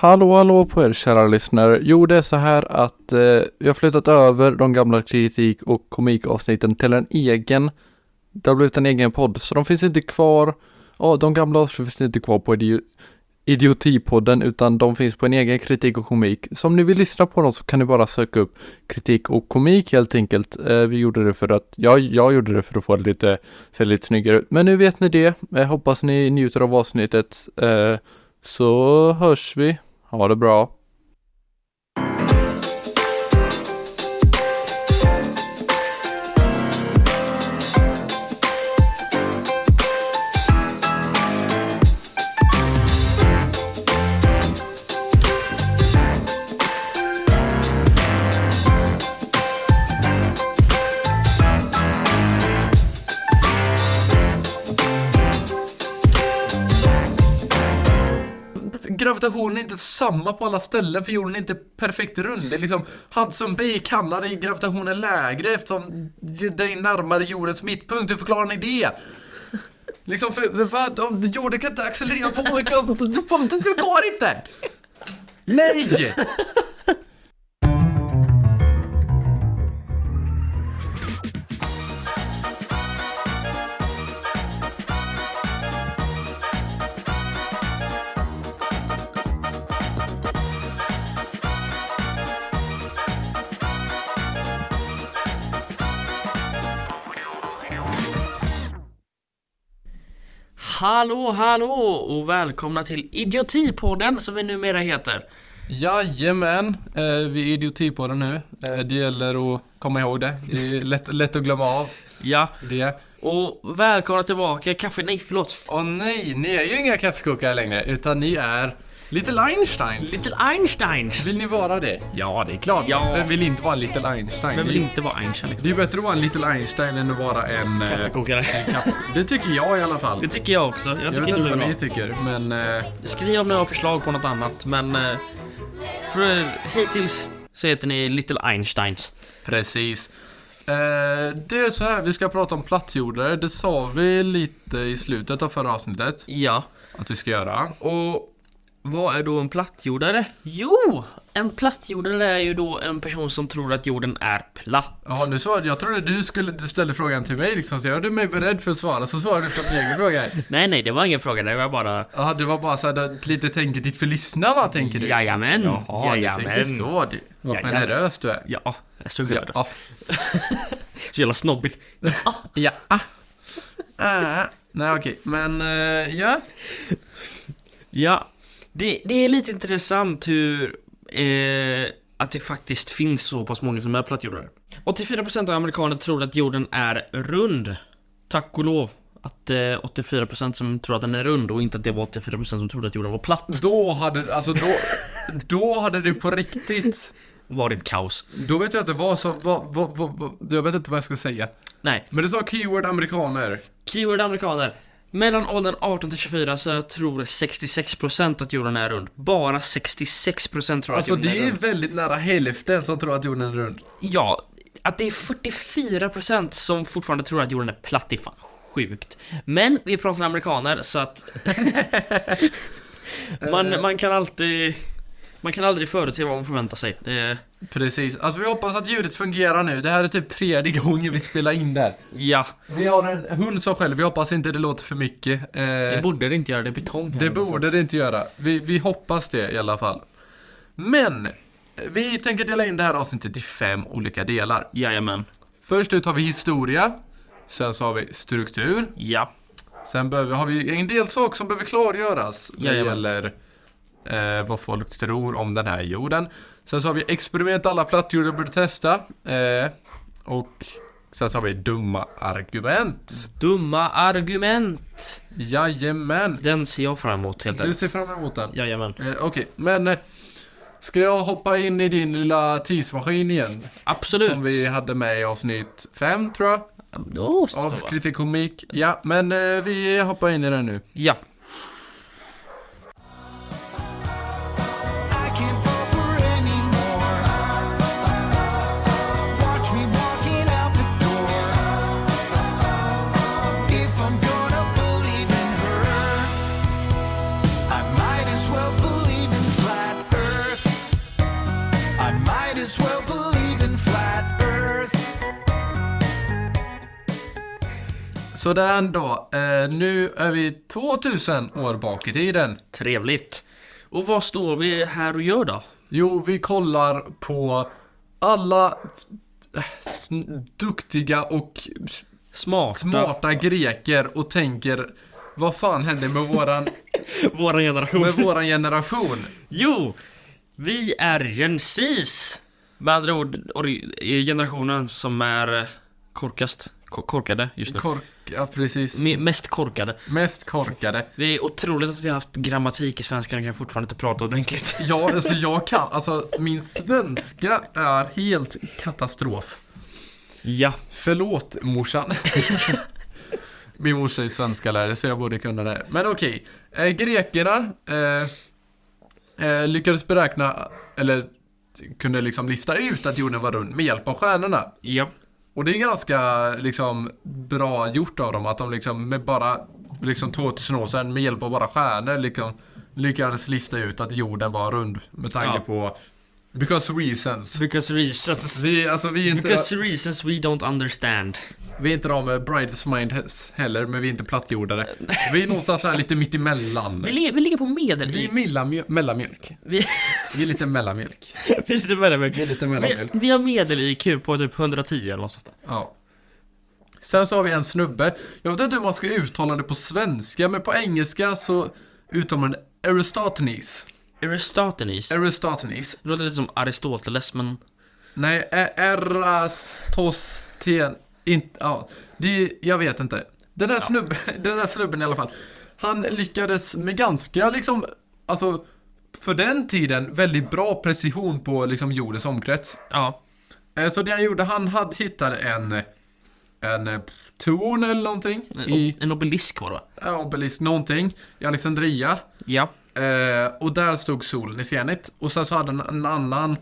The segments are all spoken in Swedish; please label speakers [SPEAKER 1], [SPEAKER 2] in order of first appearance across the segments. [SPEAKER 1] Hallå hallå på er kära lyssnare. Jo det är så här att eh, jag har flyttat över de gamla kritik och komikavsnitten till en egen. Det har blivit en egen podd så de finns inte kvar. Ja, de gamla avsnitten finns inte kvar på idi- idiotipodden utan de finns på en egen kritik och komik. Så om ni vill lyssna på dem så kan ni bara söka upp kritik och komik helt enkelt. Eh, vi gjorde det för att, ja jag gjorde det för att få det lite, se lite snyggare ut. Men nu vet ni det. Eh, hoppas ni njuter av avsnittet. Eh, så hörs vi. Ha det bra.
[SPEAKER 2] Gravitationen är inte samma på alla ställen för jorden är inte perfekt rund. Det är liksom Hudson Bay i Kanada är gravitationen lägre eftersom den är närmare jordens mittpunkt. Hur förklarar ni det? Liksom för, för vad? Om jorden kan inte accelerera på olika... Det går inte! Nej!
[SPEAKER 3] Hallå hallå och välkomna till Idiotipodden som vi numera heter.
[SPEAKER 2] Jajamän, eh, vi är idioti på det nu. Eh, det gäller att komma ihåg det. Det är lätt, lätt att glömma av
[SPEAKER 3] Ja,
[SPEAKER 2] det.
[SPEAKER 3] och välkomna tillbaka kaffe, nej förlåt.
[SPEAKER 2] Åh nej, ni är ju inga kaffekokare längre utan ni är Little Einstein.
[SPEAKER 3] Little Einsteins.
[SPEAKER 2] Vill ni vara det? Ja, det är klart.
[SPEAKER 3] Ja.
[SPEAKER 2] Vem vill inte vara en Little Einstein?
[SPEAKER 3] Men
[SPEAKER 2] det,
[SPEAKER 3] vill
[SPEAKER 2] är,
[SPEAKER 3] inte vara Einstein liksom.
[SPEAKER 2] det är bättre att vara en Little Einstein än att vara en... eh,
[SPEAKER 3] Kaffekokare.
[SPEAKER 2] kaffe- det tycker jag i alla fall.
[SPEAKER 3] Det tycker jag också. Jag
[SPEAKER 2] Jag
[SPEAKER 3] tycker
[SPEAKER 2] vet
[SPEAKER 3] inte
[SPEAKER 2] inte
[SPEAKER 3] det är
[SPEAKER 2] vad ni
[SPEAKER 3] bra.
[SPEAKER 2] tycker, men... eh,
[SPEAKER 3] Skriv om ni har förslag på något annat men... eh, För hittills så heter ni Little Einsteins.
[SPEAKER 2] precis. Eh, det är så här, vi ska prata om plattjordare. Det sa vi lite i slutet av förra avsnittet
[SPEAKER 3] Ja,
[SPEAKER 2] att vi ska göra.
[SPEAKER 3] och vad är då en plattjordare? Jo, en plattjordare är ju då en person som tror att jorden är platt.
[SPEAKER 2] Jaha, nu svarade jag trodde du skulle du ställde frågan till mig liksom, så jag gjorde mig beredd för att svara, så svarade du på min egen fråga.
[SPEAKER 3] Nej, nej, det var ingen fråga. Det var bara...
[SPEAKER 2] Ja, det var bara så här, ett litet tänketitt för lyssnarna, tänker du?
[SPEAKER 3] Jajamän!
[SPEAKER 2] Jaha, du tänker så du. Vad
[SPEAKER 3] Jajamän.
[SPEAKER 2] generös du är.
[SPEAKER 3] Ja, jag är så glad.
[SPEAKER 2] Ja.
[SPEAKER 3] Så jävla snobbigt.
[SPEAKER 2] ja. Ah. Nej okej, men eh, ja.
[SPEAKER 3] Ja, det, det är lite intressant hur... Eh, att det faktiskt finns så pass många som är plattjordare. 84% av amerikaner tror att jorden är rund. Tack och lov att eh, 84% som tror att den är rund och inte att det var 84% som trodde att jorden var platt.
[SPEAKER 2] Då hade, alltså då, då hade det på riktigt.
[SPEAKER 3] Varit kaos.
[SPEAKER 2] Då vet jag att det var så, vad, vad, vad, vad, jag vet inte vad jag ska säga.
[SPEAKER 3] Nej,
[SPEAKER 2] Men du sa keyword amerikaner.
[SPEAKER 3] keyword amerikaner. Mellan åldern 18 till 24 så tror 66% att jorden är rund. Bara 66% tror
[SPEAKER 2] Alltså
[SPEAKER 3] att jorden är
[SPEAKER 2] det är
[SPEAKER 3] rund.
[SPEAKER 2] väldigt nära hälften som tror att jorden är rund.
[SPEAKER 3] Ja, att det är 44% som fortfarande tror att jorden är platt det är fan sjukt. Men vi pratar amerikaner så att... Eh. man, man kan alltid... Man kan aldrig förutse vad man förväntar sig. Det är,
[SPEAKER 2] Precis, alltså vi hoppas att ljudet fungerar nu. Det här är typ tredje gången vi spelar in där.
[SPEAKER 3] ja,
[SPEAKER 2] Vi har en hund som själv, vi hoppas inte det låter för mycket. Eh,
[SPEAKER 3] det borde det inte göra, det är betong här. liksom.
[SPEAKER 2] Det borde det inte göra. Vi, vi hoppas det i alla fall. Men, vi tänker dela in det här avsnittet i fem olika delar.
[SPEAKER 3] Jajamän.
[SPEAKER 2] Först ut har vi historia. Sen så har vi struktur.
[SPEAKER 3] Ja.
[SPEAKER 2] Sen behöver, har vi en del saker som behöver klargöras när det
[SPEAKER 3] Jajamän.
[SPEAKER 2] gäller eh, vad folk tror om den här jorden. Sen så har vi experiment alla plattjordar borde testa. Eh, och sen så har vi dumma argument.
[SPEAKER 3] Dumma argument.
[SPEAKER 2] Jajamän!
[SPEAKER 3] Den ser jag fram emot helt
[SPEAKER 2] Du
[SPEAKER 3] enkelt.
[SPEAKER 2] ser fram emot den.
[SPEAKER 3] Jajamän.
[SPEAKER 2] Eh, Okej, men eh, ska jag hoppa in i din lilla tidsmaskin igen?
[SPEAKER 3] Absolut.
[SPEAKER 2] Som vi hade med i avsnitt 5 tror jag,
[SPEAKER 3] Då så,
[SPEAKER 2] av
[SPEAKER 3] va?
[SPEAKER 2] kritik och komik. Ja, men eh, vi hoppar in i den nu.
[SPEAKER 3] Ja.
[SPEAKER 4] I can't fall for anymore. Watch me walking out the door. If I'm gonna believe in her, I might as well believe in flat.
[SPEAKER 2] Så den då. Eh, nu är vi 2000 år bak i tiden.
[SPEAKER 3] Trevligt. Och vad står vi här och gör då?
[SPEAKER 2] Jo, vi kollar på alla f- sn- duktiga och
[SPEAKER 3] Smarta.
[SPEAKER 2] smarta greker och tänker vad fan hände med våran,
[SPEAKER 3] Vår generation.
[SPEAKER 2] med våran generation?
[SPEAKER 3] Jo, vi är gensis. Med andra ord or- generationen som är eh, korkast. Ko- korkade just nu.
[SPEAKER 2] Kork, ja precis.
[SPEAKER 3] Me- mest korkade.
[SPEAKER 2] Mest korkade.
[SPEAKER 3] Det är otroligt att vi har haft grammatik i svenskan och kan fortfarande inte prata ordentligt.
[SPEAKER 2] Ja, alltså jag kan, alltså min svenska är helt katastrof.
[SPEAKER 3] Ja.
[SPEAKER 2] Förlåt morsan. Min morsa är svenska lärare så jag borde kunna det. här. Men okej. Eh, grekerna eh, eh, lyckades beräkna, eller kunde liksom lista ut att jorden var rund med hjälp av stjärnorna.
[SPEAKER 3] Ja.
[SPEAKER 2] Och det är ganska liksom bra gjort av dem att de liksom med bara liksom 2000 år sedan med hjälp av bara stjärnor liksom lyckades lista ut att jorden var rund med tanke
[SPEAKER 3] Ja.
[SPEAKER 2] på because reasons.
[SPEAKER 3] Because reasons.
[SPEAKER 2] Vi, alltså, vi är inte...
[SPEAKER 3] Because reasons we don't understand.
[SPEAKER 2] Vi är inte de med brightest mind he- heller, men vi är inte plattjordare. Vi är någonstans här lite mitt emellan.
[SPEAKER 3] Vi, li- vi ligger på medel.
[SPEAKER 2] Vi är
[SPEAKER 3] Vi,
[SPEAKER 2] mellanmjö- mellanmjölk.
[SPEAKER 3] vi,
[SPEAKER 2] Vi är lite mellanmjölk.
[SPEAKER 3] vi, sitter med det, men-
[SPEAKER 2] Vi är lite
[SPEAKER 3] vi,
[SPEAKER 2] mellanmjölk.
[SPEAKER 3] vi har medel-IQ på typ 110 eller något sånt där.
[SPEAKER 2] Ja. Sen så har vi en snubbe. Jag vet inte hur man ska uttala det på svenska, men på engelska så uttalar man det Aristoteles.
[SPEAKER 3] Aristoteles.
[SPEAKER 2] Aristoteles.
[SPEAKER 3] Det låter lite som Aristoteles men...
[SPEAKER 2] Nej, Ä- Erastosten... Inte... Ja, det, jag vet inte. Den där, snubben, den där snubben i alla fall. Han lyckades med ganska liksom, alltså för den tiden väldigt bra precision på liksom jordens omkrets.
[SPEAKER 3] Ja.
[SPEAKER 2] Eh, Så det han gjorde, han hade, hittade en, en eh, torn eller någonting i
[SPEAKER 3] En obelisk var det va?
[SPEAKER 2] ja, obelisk någonting i Alexandria.
[SPEAKER 3] Ja.
[SPEAKER 2] Eh, och där stod solen i zenit. Och sen så hade han en annan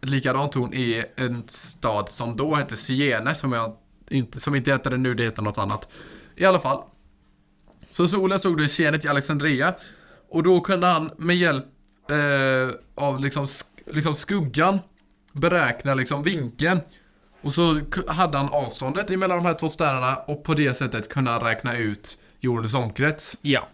[SPEAKER 2] likadan torn i en stad som då hette Siene, som, jag inte, som inte heter det nu, det heter något annat. I alla fall. Så solen stod då i zenit i Alexandria. Och då kunde han med hjälp eh, av liksom, sk- liksom skuggan beräkna liksom vinkeln. Och så ku- hade han avståndet emellan de här två stjärnorna och på det sättet kunde han räkna ut jordens omkrets.
[SPEAKER 3] Ja.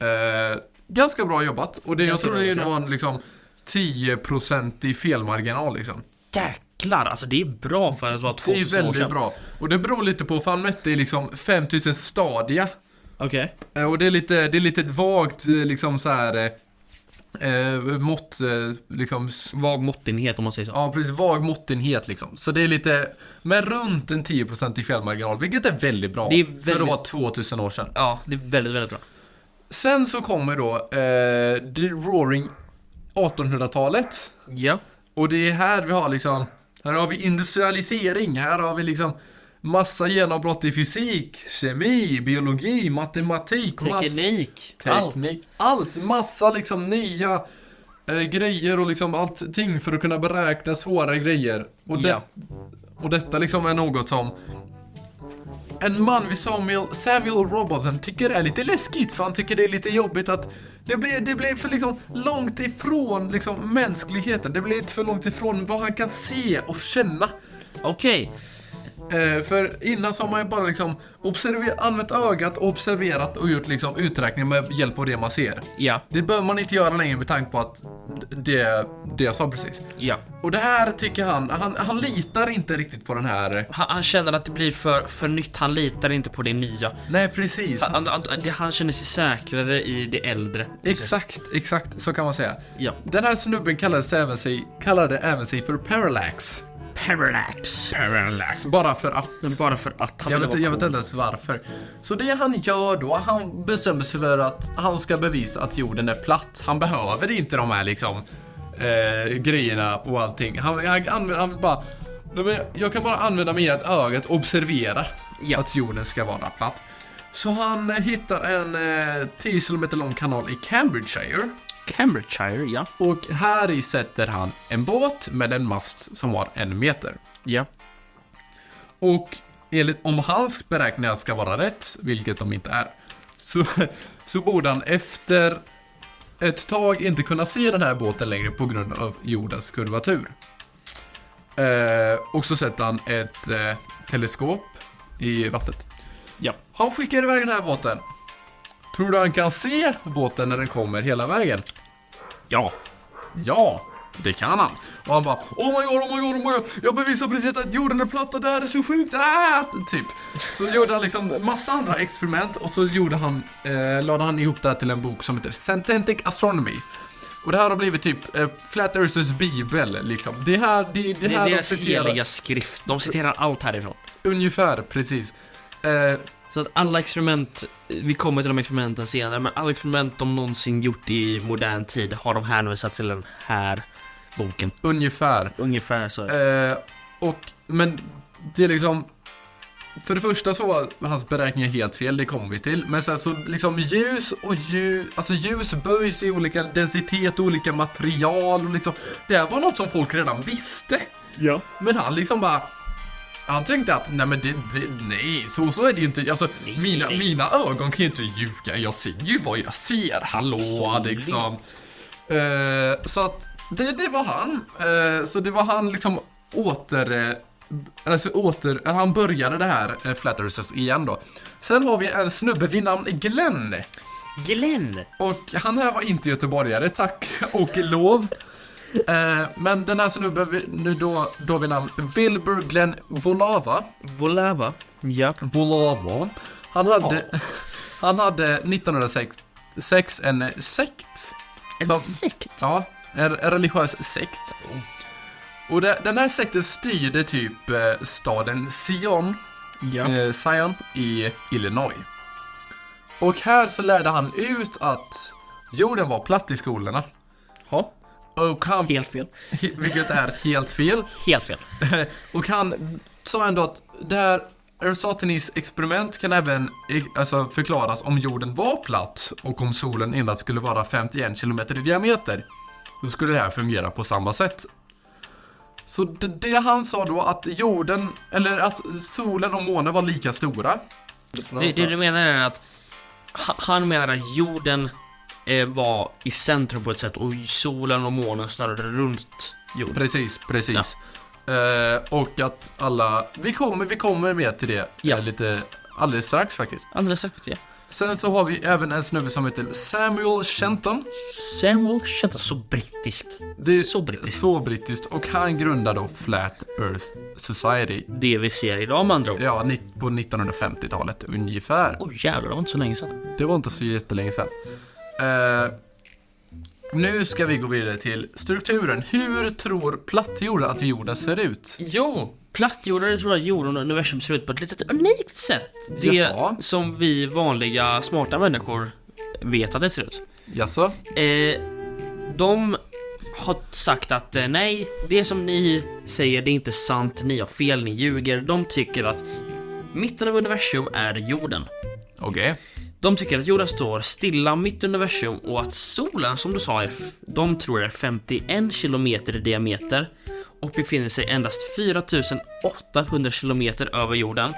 [SPEAKER 2] Eh, ganska bra jobbat. Och det, jag
[SPEAKER 3] Ganska
[SPEAKER 2] tror
[SPEAKER 3] bra
[SPEAKER 2] det
[SPEAKER 3] jobbat,
[SPEAKER 2] var en liksom 10% i felmarginal liksom.
[SPEAKER 3] Jäklar, alltså det är bra för att vara
[SPEAKER 2] Det är
[SPEAKER 3] 2000 år
[SPEAKER 2] väldigt
[SPEAKER 3] sedan.
[SPEAKER 2] bra. Och det beror lite på, för han mätte i liksom 5000 stadia.
[SPEAKER 3] Okej.
[SPEAKER 2] Eh, och det är lite, det är lite ett vagt eh, liksom så här eh, eh, mått, eh, liksom, s-
[SPEAKER 3] Vag måttenhet om man säger så.
[SPEAKER 2] ja precis, vag måttenhet liksom. Så det är lite, men runt en 10% i felmarginal, vilket är väldigt bra.
[SPEAKER 3] Det är
[SPEAKER 2] För att
[SPEAKER 3] väldigt-
[SPEAKER 2] vara 2000 år sedan.
[SPEAKER 3] Ja, det är väldigt, väldigt bra.
[SPEAKER 2] Sen så kommer då eh, The Roaring 1800-talet.
[SPEAKER 3] Ja.
[SPEAKER 2] Och det är här vi har liksom, här har vi industrialisering, här har vi liksom massa genombrott i fysik, kemi, biologi, matematik, mass-
[SPEAKER 3] Teknik. Allt.
[SPEAKER 2] teknik, allt, massa liksom nya eh, grejer och liksom allting för att kunna beräkna svåra grejer. Och, det,
[SPEAKER 3] Ja.
[SPEAKER 2] och detta liksom är något som en man vid Samuel, Samuel Robothen tycker är lite läskigt för han tycker det är lite jobbigt att det blir, det blir för liksom långt ifrån liksom mänskligheten. Det blir lite för långt ifrån vad han kan se och känna.
[SPEAKER 3] Okej.
[SPEAKER 2] Eh, för innan så har man ju bara liksom observer- använt ögat, observerat och gjort liksom uträkningar med hjälp av det man ser.
[SPEAKER 3] Ja.
[SPEAKER 2] Det behöver man inte göra längre med tanke på att d- det, det jag sa precis.
[SPEAKER 3] Ja.
[SPEAKER 2] Och det här tycker han, han, han litar inte riktigt på den här...
[SPEAKER 3] Han, han känner att det blir för, för nytt, han litar inte på det nya.
[SPEAKER 2] Nej precis. Han,
[SPEAKER 3] Han, han, det- han känner sig säkrare i det äldre.
[SPEAKER 2] exakt, exakt, så kan man säga.
[SPEAKER 3] Ja.
[SPEAKER 2] Den här snubben kallades även sig, kallade även sig för Parallax.
[SPEAKER 3] Parallax.
[SPEAKER 2] Parallax. Bara för att.
[SPEAKER 3] Men bara för att han
[SPEAKER 2] Jag
[SPEAKER 3] ville
[SPEAKER 2] vet,
[SPEAKER 3] vara
[SPEAKER 2] jag vet
[SPEAKER 3] cool.
[SPEAKER 2] inte ens varför. Så det han gör då, han bestämmer sig för att han ska bevisa att jorden är platt. Han behöver inte de här liksom eh, grejerna och allting. Han, han, använder, han vill bara, "Nej, men jag kan bara använda mig av ögat och observera
[SPEAKER 3] Ja.
[SPEAKER 2] att jorden ska vara platt. Så han eh, hittar en eh, 10 kilometer lång kanal i Cambridgeshire.
[SPEAKER 3] Cambridgeshire, ja.
[SPEAKER 2] Och här i sätter han en båt med en mast som var en meter.
[SPEAKER 3] Ja.
[SPEAKER 2] Och enligt, om hans beräkningar ska vara rätt, vilket de inte är, så, så borde han efter ett tag inte kunna se den här båten längre på grund av jordens kurvatur. Eh, och så sätter han ett eh, teleskop i vattnet.
[SPEAKER 3] Ja.
[SPEAKER 2] Han skickar iväg den här båten. Tror du han kan se båten när den kommer hela vägen?
[SPEAKER 3] Ja.
[SPEAKER 2] Ja, det kan han. Och han bara Oh my god, oh my god, oh my god. Jag bevisar precis att jorden är platt och det här är så sjukt. Ah! Typ. Så gjorde han liksom massa andra experiment och så gjorde han, eh, lade han ihop det här till en bok som heter Sententic Astronomy. Och det här har blivit typ eh, Flat Earthers bibel liksom. Det här, det, det
[SPEAKER 3] Det
[SPEAKER 2] här
[SPEAKER 3] är
[SPEAKER 2] de
[SPEAKER 3] deras
[SPEAKER 2] citerar-
[SPEAKER 3] heliga skrift. De citerar allt härifrån.
[SPEAKER 2] Ungefär, precis. Eh,
[SPEAKER 3] Så att alla experiment, vi kommer till de experimenten senare, men alla experiment de någonsin gjort i modern tid har de hänvisat till den här boken.
[SPEAKER 2] ungefär.
[SPEAKER 3] Ungefär så.
[SPEAKER 2] Eh, och, men det är liksom... För det första så var hans beräkningar helt fel, det kommer vi till. Men sen så liksom ljus och ljus, alltså ljus böjs i olika densitet, olika material och liksom. Det här var något som folk redan visste.
[SPEAKER 3] Ja.
[SPEAKER 2] Men han liksom bara... Han tänkte att, nej men det, det nej, så, så är det ju inte. Alltså, mina, mina ögon kan ju inte ljuga. Jag ser ju vad jag ser. Hallå, liksom. Eh, så att, det, det var han. Eh, så det var han liksom åter... eh, Alltså åter, eh, han började det här eh, Flat Earthers igen då. Sen har vi en snubbe vid namn Glenn.
[SPEAKER 3] Glenn!
[SPEAKER 2] Och han här var inte göteborgare, tack och lov. Eh, men den här snubben vi- nu då, då vid namn Wilbur Glenn Volava.
[SPEAKER 3] Volava. Ja.
[SPEAKER 2] Volava. Han hade, han hade 1906 en sekt.
[SPEAKER 3] En
[SPEAKER 2] Som-
[SPEAKER 3] sekt.
[SPEAKER 2] Ja, en religiös sekt. Och det, den här sekten styrde typ eh, staden Sion
[SPEAKER 3] Ja.
[SPEAKER 2] eh, Zion i Illinois. Och här så lärde han ut att jorden var platt i skolorna.
[SPEAKER 3] Ha.
[SPEAKER 2] Och han,
[SPEAKER 3] Helt fel.
[SPEAKER 2] vilket är helt fel.
[SPEAKER 3] Helt fel.
[SPEAKER 2] Och han sa ändå att det här Aristoteles experiment kan även eh, alltså, förklaras om jorden var platt och om solen endast skulle vara 51 km i diameter. Då skulle det här fungera på samma sätt. Så det, det han sa då att jorden, eller att solen och månen var lika stora.
[SPEAKER 3] Det, det du menar är att ha- han menar att jorden eh, var i centrum på ett sätt och solen och månen snurrade runt jorden.
[SPEAKER 2] Precis, precis. Eh, och att alla, vi kommer, vi kommer med till det
[SPEAKER 3] Ja.
[SPEAKER 2] eh, lite alldeles strax faktiskt.
[SPEAKER 3] Alldeles säkert ja.
[SPEAKER 2] Sen så har vi även en snubbe som heter Samuel Shenton.
[SPEAKER 3] Samuel Shenton. Så brittiskt.
[SPEAKER 2] Det är
[SPEAKER 3] Så brittiskt.
[SPEAKER 2] Så brittiskt. Och han grundade då Flat Earth Society.
[SPEAKER 3] Det vi ser idag med andra ord.
[SPEAKER 2] Ja, ni- på 1950-talet ungefär.
[SPEAKER 3] Åh jävlar, det var inte så länge sedan.
[SPEAKER 2] Det var inte så jättelänge sedan. Eh, nu ska vi gå vidare till strukturen. Hur tror plattjorden att jorden ser ut?
[SPEAKER 3] Jo, plattjordare tror jag jorden och universum ser ut på ett litet unikt sätt. Det
[SPEAKER 2] Jaha.
[SPEAKER 3] som vi vanliga smarta människor vet att det ser ut.
[SPEAKER 2] Jaså?
[SPEAKER 3] Eh, de har sagt att eh, nej, det som ni säger det är inte sant, ni har fel, ni ljuger. De tycker att mitten av universum är jorden.
[SPEAKER 2] Okej.
[SPEAKER 3] De tycker att jorden står stilla mitt i universum och att solen som du sa, är f- de tror är 51 kilometer i diameter och befinner sig endast 4800 kilometer över jorden.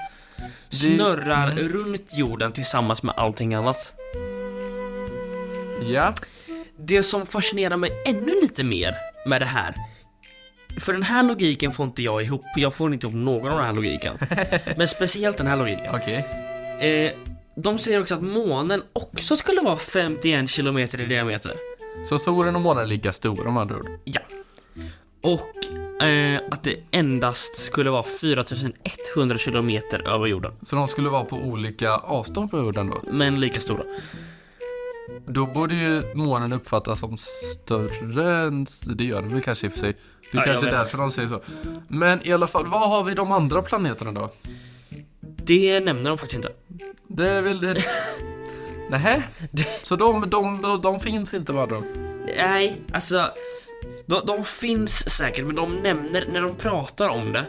[SPEAKER 3] Snurrar runt jorden tillsammans med allting annat.
[SPEAKER 2] Ja.
[SPEAKER 3] Det som fascinerar mig ännu lite mer med det här för den här logiken får inte jag ihop, jag får inte ihop någon av den här logiken. Men speciellt den här logiken.
[SPEAKER 2] Okej.
[SPEAKER 3] Eh, de säger också att månen också skulle vara 51 kilometer i diameter.
[SPEAKER 2] Så solen och månen är lika stora med andra ord?
[SPEAKER 3] Ja. Och eh, att det endast skulle vara 4100 kilometer över jorden.
[SPEAKER 2] Så de skulle vara på olika avstånd från jorden då?
[SPEAKER 3] Men lika stora.
[SPEAKER 2] Då borde ju månen uppfattas som större än... Det gör den väl kanske i och för sig. Det
[SPEAKER 3] Ja, jag
[SPEAKER 2] kanske är
[SPEAKER 3] vet
[SPEAKER 2] därför de säger så. Men i alla fall, vad har vi de andra planeterna då?
[SPEAKER 3] Det nämner de faktiskt inte.
[SPEAKER 2] Det är väl... Det... Nähä? Så de, de, de, de finns inte med andra ord?
[SPEAKER 3] Nej, alltså. De, de finns säkert, men de nämner, när de pratar om det,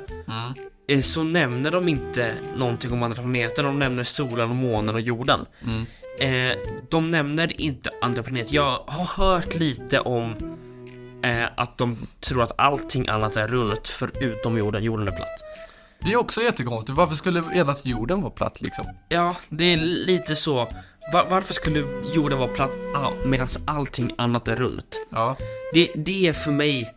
[SPEAKER 3] eh, så nämner de inte någonting om andra planeter. De nämner solen och månen och jorden. Eh, de nämner inte andra planeter. Jag har hört lite om eh, att de tror att allting annat är runt förutom jorden. Jorden är platt.
[SPEAKER 2] Det är också jättekonstigt. Varför skulle endast jorden vara platt liksom?
[SPEAKER 3] Ja, det är lite så. Va- varför skulle jorden vara platt ah, medan allting annat är runt?
[SPEAKER 2] Ja,
[SPEAKER 3] Det, det är för mig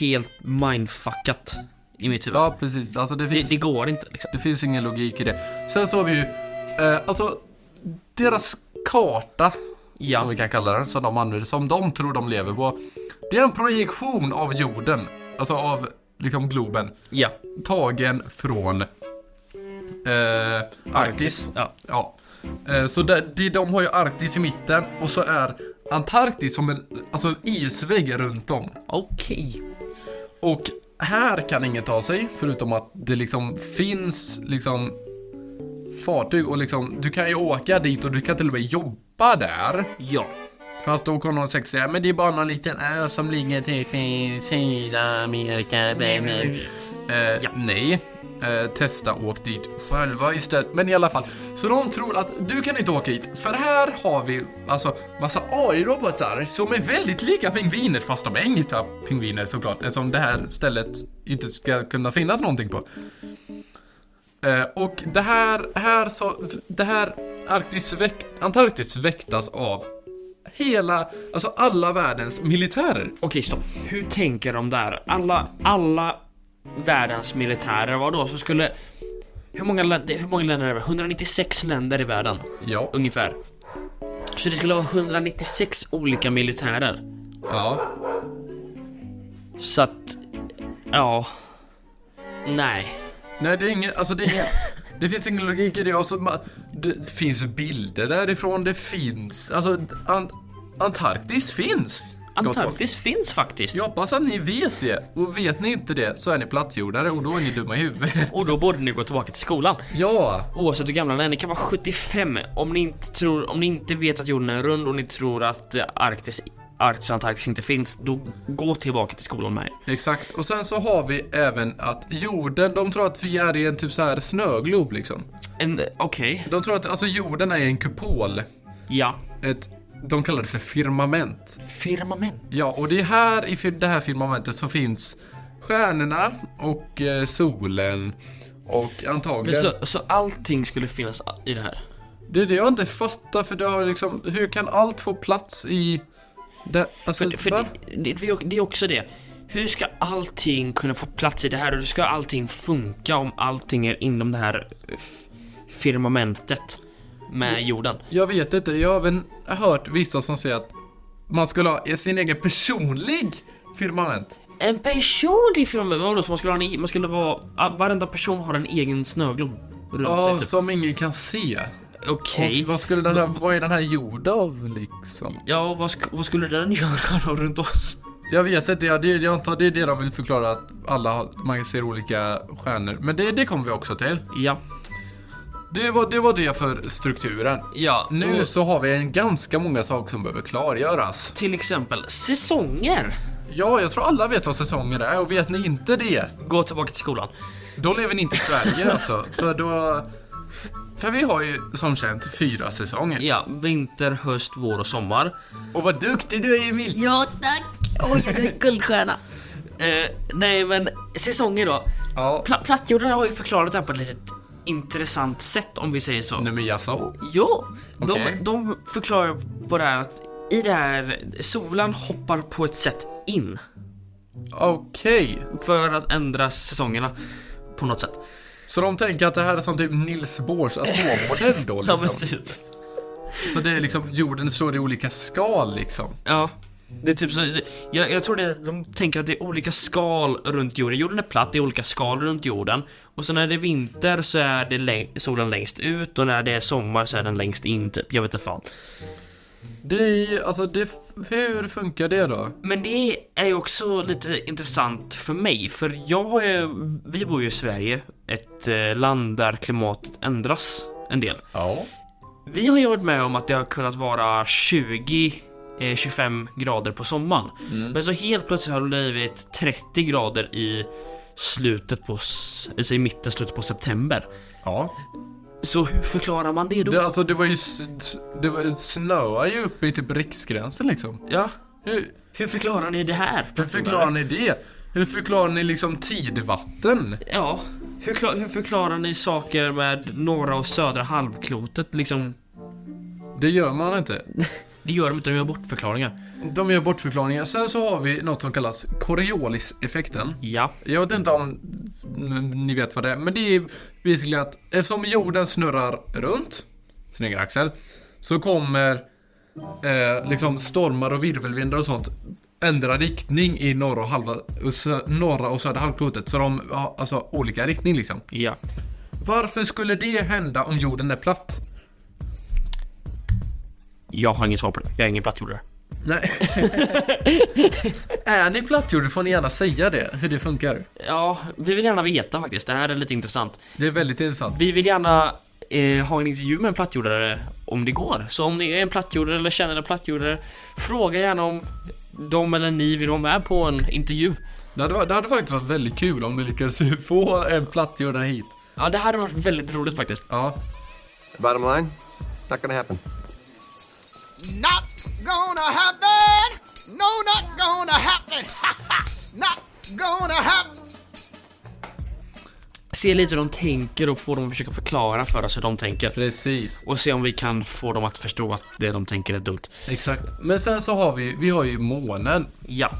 [SPEAKER 3] helt mindfuckat i mitt huvud.
[SPEAKER 2] ja precis. Alltså det
[SPEAKER 3] Det,
[SPEAKER 2] finns...
[SPEAKER 3] det går inte liksom.
[SPEAKER 2] Det finns ingen logik i det. Sen så har vi ju Eh, alltså, deras karta,
[SPEAKER 3] Ja.
[SPEAKER 2] som vi kan kalla den, som de använder, som de tror de lever på. Det är en projektion av jorden, alltså av liksom Globen,
[SPEAKER 3] Ja.
[SPEAKER 2] tagen från eh, Arktis.
[SPEAKER 3] Ja.
[SPEAKER 2] Ja. Eh, Så där, de, de har ju Arktis i mitten och så är Antarktis som en alltså, isvägg runt om.
[SPEAKER 3] Okej.
[SPEAKER 2] Och här kan ingen ta sig förutom att det liksom finns liksom fartyg och liksom du kan ju åka dit och du kan till och med jobba där.
[SPEAKER 3] Ja.
[SPEAKER 2] Fast då kommer någon sex säga men det är bara någon liten ö som ligger typ i Sydamerika. bla, bla." Eh,
[SPEAKER 3] Ja.
[SPEAKER 2] Nej. Eh, testa åk dit själva istället. Men i alla fall. Så de tror att du kan inte åka hit. För här har vi alltså massa AI-robotar som är väldigt lika pingviner. Fast de är inga typ pingviner såklart. Eftersom det här stället inte ska kunna finnas någonting på. Eh, och det här, här så, det här Arktis väkt, Antarktis väktas av hela, alltså alla världens militärer.
[SPEAKER 3] Okej, stopp. Hur tänker de där? Alla, alla världens militärer var då som skulle... Hur många, länder, hur många länder är det? 196 länder i världen,
[SPEAKER 2] Ja.
[SPEAKER 3] ungefär. Så det skulle vara 196 olika militärer.
[SPEAKER 2] Ja.
[SPEAKER 3] Så att... Ja... Nej.
[SPEAKER 2] Nej, det är ingen, alltså det är ingen, det finns ingen logik i det. Alltså, ma- det finns bilder därifrån, det finns, alltså an, Antarktis finns. gott folk.
[SPEAKER 3] Antarktis finns faktiskt.
[SPEAKER 2] Jag hoppas att ni vet det. Och vet ni inte det så är ni plattjordare och då är ni dumma i huvudet.
[SPEAKER 3] Och då borde ni gå tillbaka till skolan.
[SPEAKER 2] Ja,
[SPEAKER 3] Oavsett hur gamla ni är, ni kan vara 75 om ni inte, tror, om ni inte vet att jorden är rund och ni tror att eh, Arktis, Arktis och Antarktis inte finns, då gå tillbaka till skolan med er.
[SPEAKER 2] exakt. Och sen så har vi även att jorden, de tror att vi är i en typ så här snöglob liksom.
[SPEAKER 3] En- Okej,
[SPEAKER 2] De tror att alltså jorden är en kupol.
[SPEAKER 3] ja.
[SPEAKER 2] Ett, de kallar det för firmament.
[SPEAKER 3] Firmament.
[SPEAKER 2] Ja, och det är här i fir- det här firmamentet så finns stjärnorna och eh, solen och
[SPEAKER 3] Men
[SPEAKER 2] antagligen...
[SPEAKER 3] så, så allting skulle finnas i det här?
[SPEAKER 2] Det är det jag inte fattar för det har liksom, hur kan allt få plats i... Det, alltså,
[SPEAKER 3] För, för
[SPEAKER 2] va?
[SPEAKER 3] det, det, det är också det. Hur ska allting kunna få plats i det här och hur ska allting funka om allting är inom det här eh, f- firmamentet med jorden?
[SPEAKER 2] Jag vet inte, jag har även hört vissa som säger att man skulle ha sin egen personlig firmament.
[SPEAKER 3] En personlig firmament? Vadå, så man skulle ha en e- man skulle vara... ah, Varenda person har en egen snöglob runt
[SPEAKER 2] Ja,
[SPEAKER 3] sig typ.
[SPEAKER 2] som ingen kan se.
[SPEAKER 3] Okej.
[SPEAKER 2] Och vad skulle den här, vad är den här gjord av liksom?
[SPEAKER 3] Ja, vad, sk- vad skulle den göra då runt oss?
[SPEAKER 2] Jag vet inte, jag, det, jag antar det är det de vill förklara att alla har- man ser olika stjärnor. Men det, det kommer vi också till.
[SPEAKER 3] Ja.
[SPEAKER 2] Det var, det var det för strukturen.
[SPEAKER 3] Ja,
[SPEAKER 2] Nu så har vi en ganska många saker som behöver klargöras.
[SPEAKER 3] Till exempel säsonger.
[SPEAKER 2] Ja, jag tror alla vet vad säsonger är och vet ni inte det,
[SPEAKER 3] Gå tillbaka till skolan.
[SPEAKER 2] då lever ni inte i Sverige alltså. För då... För vi har ju som känt fyra säsonger.
[SPEAKER 3] Ja, vinter, höst, vår och sommar.
[SPEAKER 2] Och vad duktig du är Emil!
[SPEAKER 5] Ja tack! Oj, jag är guldstjärna.
[SPEAKER 3] Eh, nej, men säsonger då.
[SPEAKER 2] Ja.
[SPEAKER 3] Pla- plattjordarna har ju förklarat det här på ett litet intressant sätt om vi säger så.
[SPEAKER 2] Nej men jaså?
[SPEAKER 3] Ja,
[SPEAKER 2] Okej.
[SPEAKER 3] de, de förklarar på det här att i det här, solen hoppar på ett sätt in
[SPEAKER 2] Okej.
[SPEAKER 3] för att ändra säsongerna på något sätt.
[SPEAKER 2] Så de tänker att det här är som typ Nils Bohrs atommodell då
[SPEAKER 3] Ja, men
[SPEAKER 2] liksom.
[SPEAKER 3] typ.
[SPEAKER 2] Så det är liksom, jorden står i olika skal liksom.
[SPEAKER 3] Ja. Det är typ så, jag, jag tror det, är- de tänker att det är olika skal runt jorden. Jorden är platt, det är olika skal runt jorden. Och sen när det är vinter så är det läng- solen längst ut och när det är sommar så är den längst in typ. Jag vet inte fan.
[SPEAKER 2] Det är, alltså det, f- hur funkar det då?
[SPEAKER 3] Men det är ju också lite intressant för mig, för jag har ju, vi bor ju i Sverige, ett eh, land där klimatet ändras en del.
[SPEAKER 2] Ja.
[SPEAKER 3] Vi har ju varit med om att det har kunnat vara 20-25 grader på sommaren.
[SPEAKER 2] Mm.
[SPEAKER 3] Men så helt plötsligt har det blivit 30 grader i slutet på, s- alltså i mitten, slutet på september.
[SPEAKER 2] Ja.
[SPEAKER 3] Så hur förklarar man det då?
[SPEAKER 2] Det, alltså det var ju, s- s- det var, snöar ju uppe i typ riksgränsen liksom.
[SPEAKER 3] Ja,
[SPEAKER 2] Hur,
[SPEAKER 3] hur förklarar ni det här?
[SPEAKER 2] hur förklarar ni det? Hur förklarar ni liksom tidvatten?
[SPEAKER 3] Ja, hur, kla- hur förklarar ni saker med norra och södra halvklotet liksom?
[SPEAKER 2] Det gör man inte.
[SPEAKER 3] Det gör de inte, de gör bortförklaringar.
[SPEAKER 2] De gör bortförklaringar. Sen så har vi något som kallas Coriolis-effekten.
[SPEAKER 3] Ja,
[SPEAKER 2] Jag vet inte om ni vet vad det är, men det är basically att eftersom jorden snurrar runt Snyggt Axel. Så kommer eh, liksom stormar och virvelvindar och sånt ändra riktning i norra och, halva, och sö, norra och södra halvklotet. Så de har alltså olika riktning liksom.
[SPEAKER 3] Ja.
[SPEAKER 2] Varför skulle det hända om jorden är platt?
[SPEAKER 3] Jag har inget svar på det. Jag är ingen plattjordare.
[SPEAKER 2] Nej. är ni plattjordar får ni gärna säga det, hur det funkar.
[SPEAKER 3] Ja, vi vill gärna veta faktiskt. Det här är lite intressant.
[SPEAKER 2] Det är väldigt intressant.
[SPEAKER 3] Vi vill gärna eh, ha en intervju med en plattjordare om det går. Så om ni är en plattjordare eller känner en plattjordare, fråga gärna om de eller ni vill vara med på en intervju.
[SPEAKER 2] Det hade, varit- det hade faktiskt varit väldigt kul om vi lyckades få en plattjordare hit.
[SPEAKER 3] Ja, det här hade varit väldigt roligt faktiskt.
[SPEAKER 2] Ja,
[SPEAKER 6] Bottom line, not gonna happen.
[SPEAKER 4] Not gonna happen. No, not gonna happen. not gonna happen.
[SPEAKER 3] Se lite hur de tänker och få dem att försöka förklara för oss hur de tänker.
[SPEAKER 2] precis.
[SPEAKER 3] Och se om vi kan få dem att förstå att det de tänker är dumt.
[SPEAKER 2] Exakt. Men sen så har vi, vi har ju månen.
[SPEAKER 3] Ja.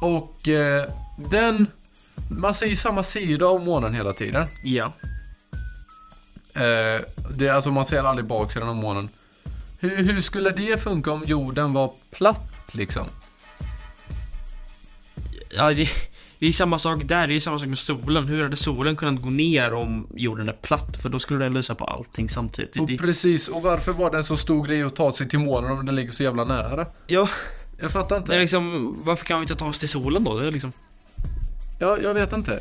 [SPEAKER 2] Och eh, den... Man ser ju samma sida av månen hela tiden.
[SPEAKER 3] Ja.
[SPEAKER 2] Eh, det, alltså man ser aldrig baksidan av månen. Hur, hur skulle det funka om jorden var platt liksom?
[SPEAKER 3] Ja, det, det är samma sak där. Det är samma sak med solen. Hur hade solen kunnat gå ner om jorden är platt? För då skulle den lysa på allting samtidigt. Det-
[SPEAKER 2] Och
[SPEAKER 3] det-
[SPEAKER 2] precis, och varför var det en så stor grej att ta sig till månen om den ligger så jävla nära?
[SPEAKER 3] Ja,
[SPEAKER 2] Jag fattar inte.
[SPEAKER 3] det är liksom, varför kan vi inte ta oss till solen då? Det är liksom,
[SPEAKER 2] Ja, jag vet inte.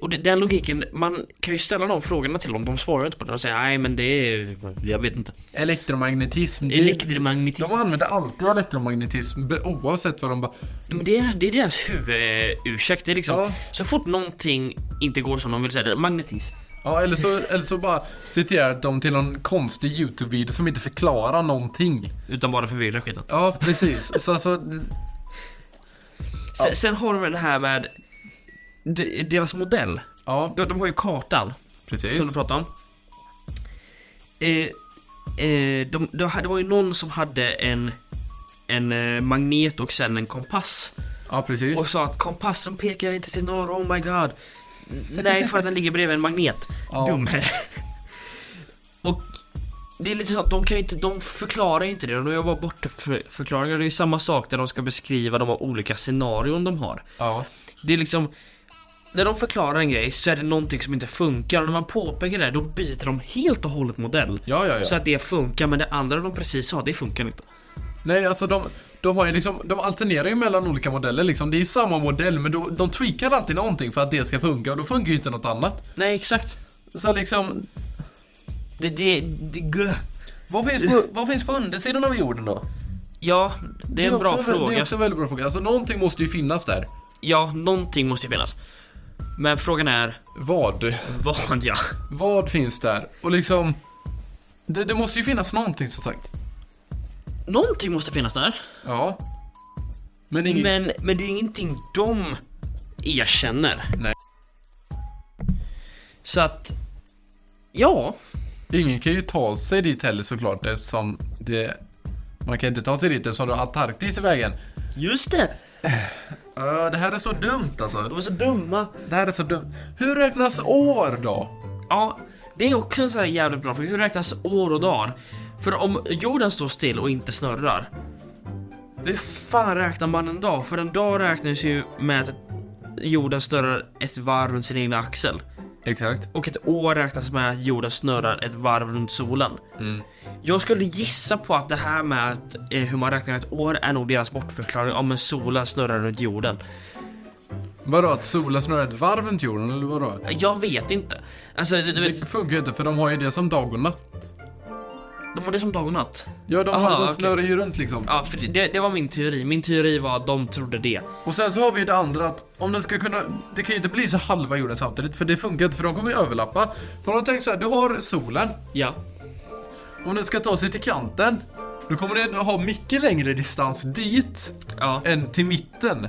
[SPEAKER 3] och det, den logiken, man kan ju ställa de frågorna till dem. De svarar ju inte på det. De säger nej men det är, jag vet inte.
[SPEAKER 2] Elektromagnetism. det-
[SPEAKER 3] Elektromagnetism.
[SPEAKER 2] De använder alltid elektromagnetism be- oavsett vad de bara...
[SPEAKER 3] Men det är, det är deras huvudursäkt. Det är liksom,
[SPEAKER 2] Ja.
[SPEAKER 3] så fort någonting inte går som de vill säga, det är magnetism.
[SPEAKER 2] Ja, eller så, eller så bara citerar de till någon konstig YouTube-video som inte förklarar någonting.
[SPEAKER 3] Utan bara förvirra skiten.
[SPEAKER 2] Ja, precis. Så alltså,
[SPEAKER 3] Sen, sen har de väl det här med de, deras modell.
[SPEAKER 2] ja,
[SPEAKER 3] De, de har ju kartan.
[SPEAKER 2] precis.
[SPEAKER 3] som du pratade om. Eh, eh, de, de, hade- det var ju någon som hade en, en eh, magnet och sen en kompass.
[SPEAKER 2] Ja, precis.
[SPEAKER 3] Och sa att kompassen pekar inte till norr, oh my god. Nej, för att den ligger bredvid en magnet.
[SPEAKER 2] Ja.
[SPEAKER 3] Dummer. och det är lite så att de kan ju inte, de förklarar ju inte det. De gör bara bort för, förklaringar. Det är ju samma sak där de ska beskriva de olika scenarion de har.
[SPEAKER 2] Ja,
[SPEAKER 3] Det är liksom När de förklarar en grej så är det någonting som inte funkar och när man påpekar det här, då byter de helt och hållet modell
[SPEAKER 2] ja, ja. ja.
[SPEAKER 3] Så att det funkar men det andra de precis sa det funkar inte
[SPEAKER 2] Nej, alltså de, de har ju liksom, de alternerar ju mellan olika modeller liksom. Det är samma modell, men då, de tweakar alltid någonting för att det ska funka och då funkar ju inte något annat.
[SPEAKER 3] Nej exakt
[SPEAKER 2] Så liksom,
[SPEAKER 3] Det, det, det, gö-
[SPEAKER 2] vad finns på, vad finns på undersidan av jorden då?
[SPEAKER 3] Ja, det är en bra
[SPEAKER 2] också, Det är
[SPEAKER 3] fråga
[SPEAKER 2] också en väldigt bra fråga. Alltså någonting måste ju finnas där.
[SPEAKER 3] Ja, någonting måste ju finnas Men frågan är
[SPEAKER 2] Vad?
[SPEAKER 3] vad ja
[SPEAKER 2] Vad finns där? Och liksom, det, det måste ju finnas någonting som sagt.
[SPEAKER 3] Någonting måste finnas där
[SPEAKER 2] Ja. Men inget...
[SPEAKER 3] Men, men det är ingenting de erkänner
[SPEAKER 2] Nej.
[SPEAKER 3] Så att Ja,
[SPEAKER 2] Ingen kan ju ta sig dit heller såklart eftersom det... Man kan inte ta sig dit eftersom du har Antarktis i vägen.
[SPEAKER 3] just det!
[SPEAKER 2] Uh, det här är så dumt alltså.
[SPEAKER 3] De är så dumma
[SPEAKER 2] Det här är så dumt. Hur räknas år då?
[SPEAKER 3] Ja, det är också en sån här jävligt bra fråga. Hur räknas år och dagar? För om jorden står still och inte snurrar, hur fan räknar man en dag? För en dag räknas ju med att jorden snurrar ett varv runt sin egna axel.
[SPEAKER 2] Exakt.
[SPEAKER 3] Och ett år räknas med att jorden snurrar ett varv runt solen. Jag skulle gissa på att det här med att, eh, hur man räknar ett år är nog deras bortförklaring. Ja men solen snurrar runt jorden.
[SPEAKER 2] Vadå, att solen snurrar ett varv runt jorden eller vadå?
[SPEAKER 3] Jag vet inte. Alltså, du, du vet,
[SPEAKER 2] Det funkar ju inte för de har ju det som dag och natt.
[SPEAKER 3] de har det som dag och natt.
[SPEAKER 2] Ja, de,
[SPEAKER 3] Aha,
[SPEAKER 2] har, de
[SPEAKER 3] okej.
[SPEAKER 2] snurrar ju runt liksom.
[SPEAKER 3] Ja, för det, det var min teori. Min teori var att de trodde det.
[SPEAKER 2] Och sen så har vi det andra att om den ska kunna, det kan ju inte bli så halva jorden samtidigt för det funkar inte för de kommer ju överlappa. För om du tänker så här, du har solen,
[SPEAKER 3] Ja.
[SPEAKER 2] om den ska ta sig till kanten, då kommer den ha mycket längre distans dit
[SPEAKER 3] Ja.
[SPEAKER 2] än till mitten.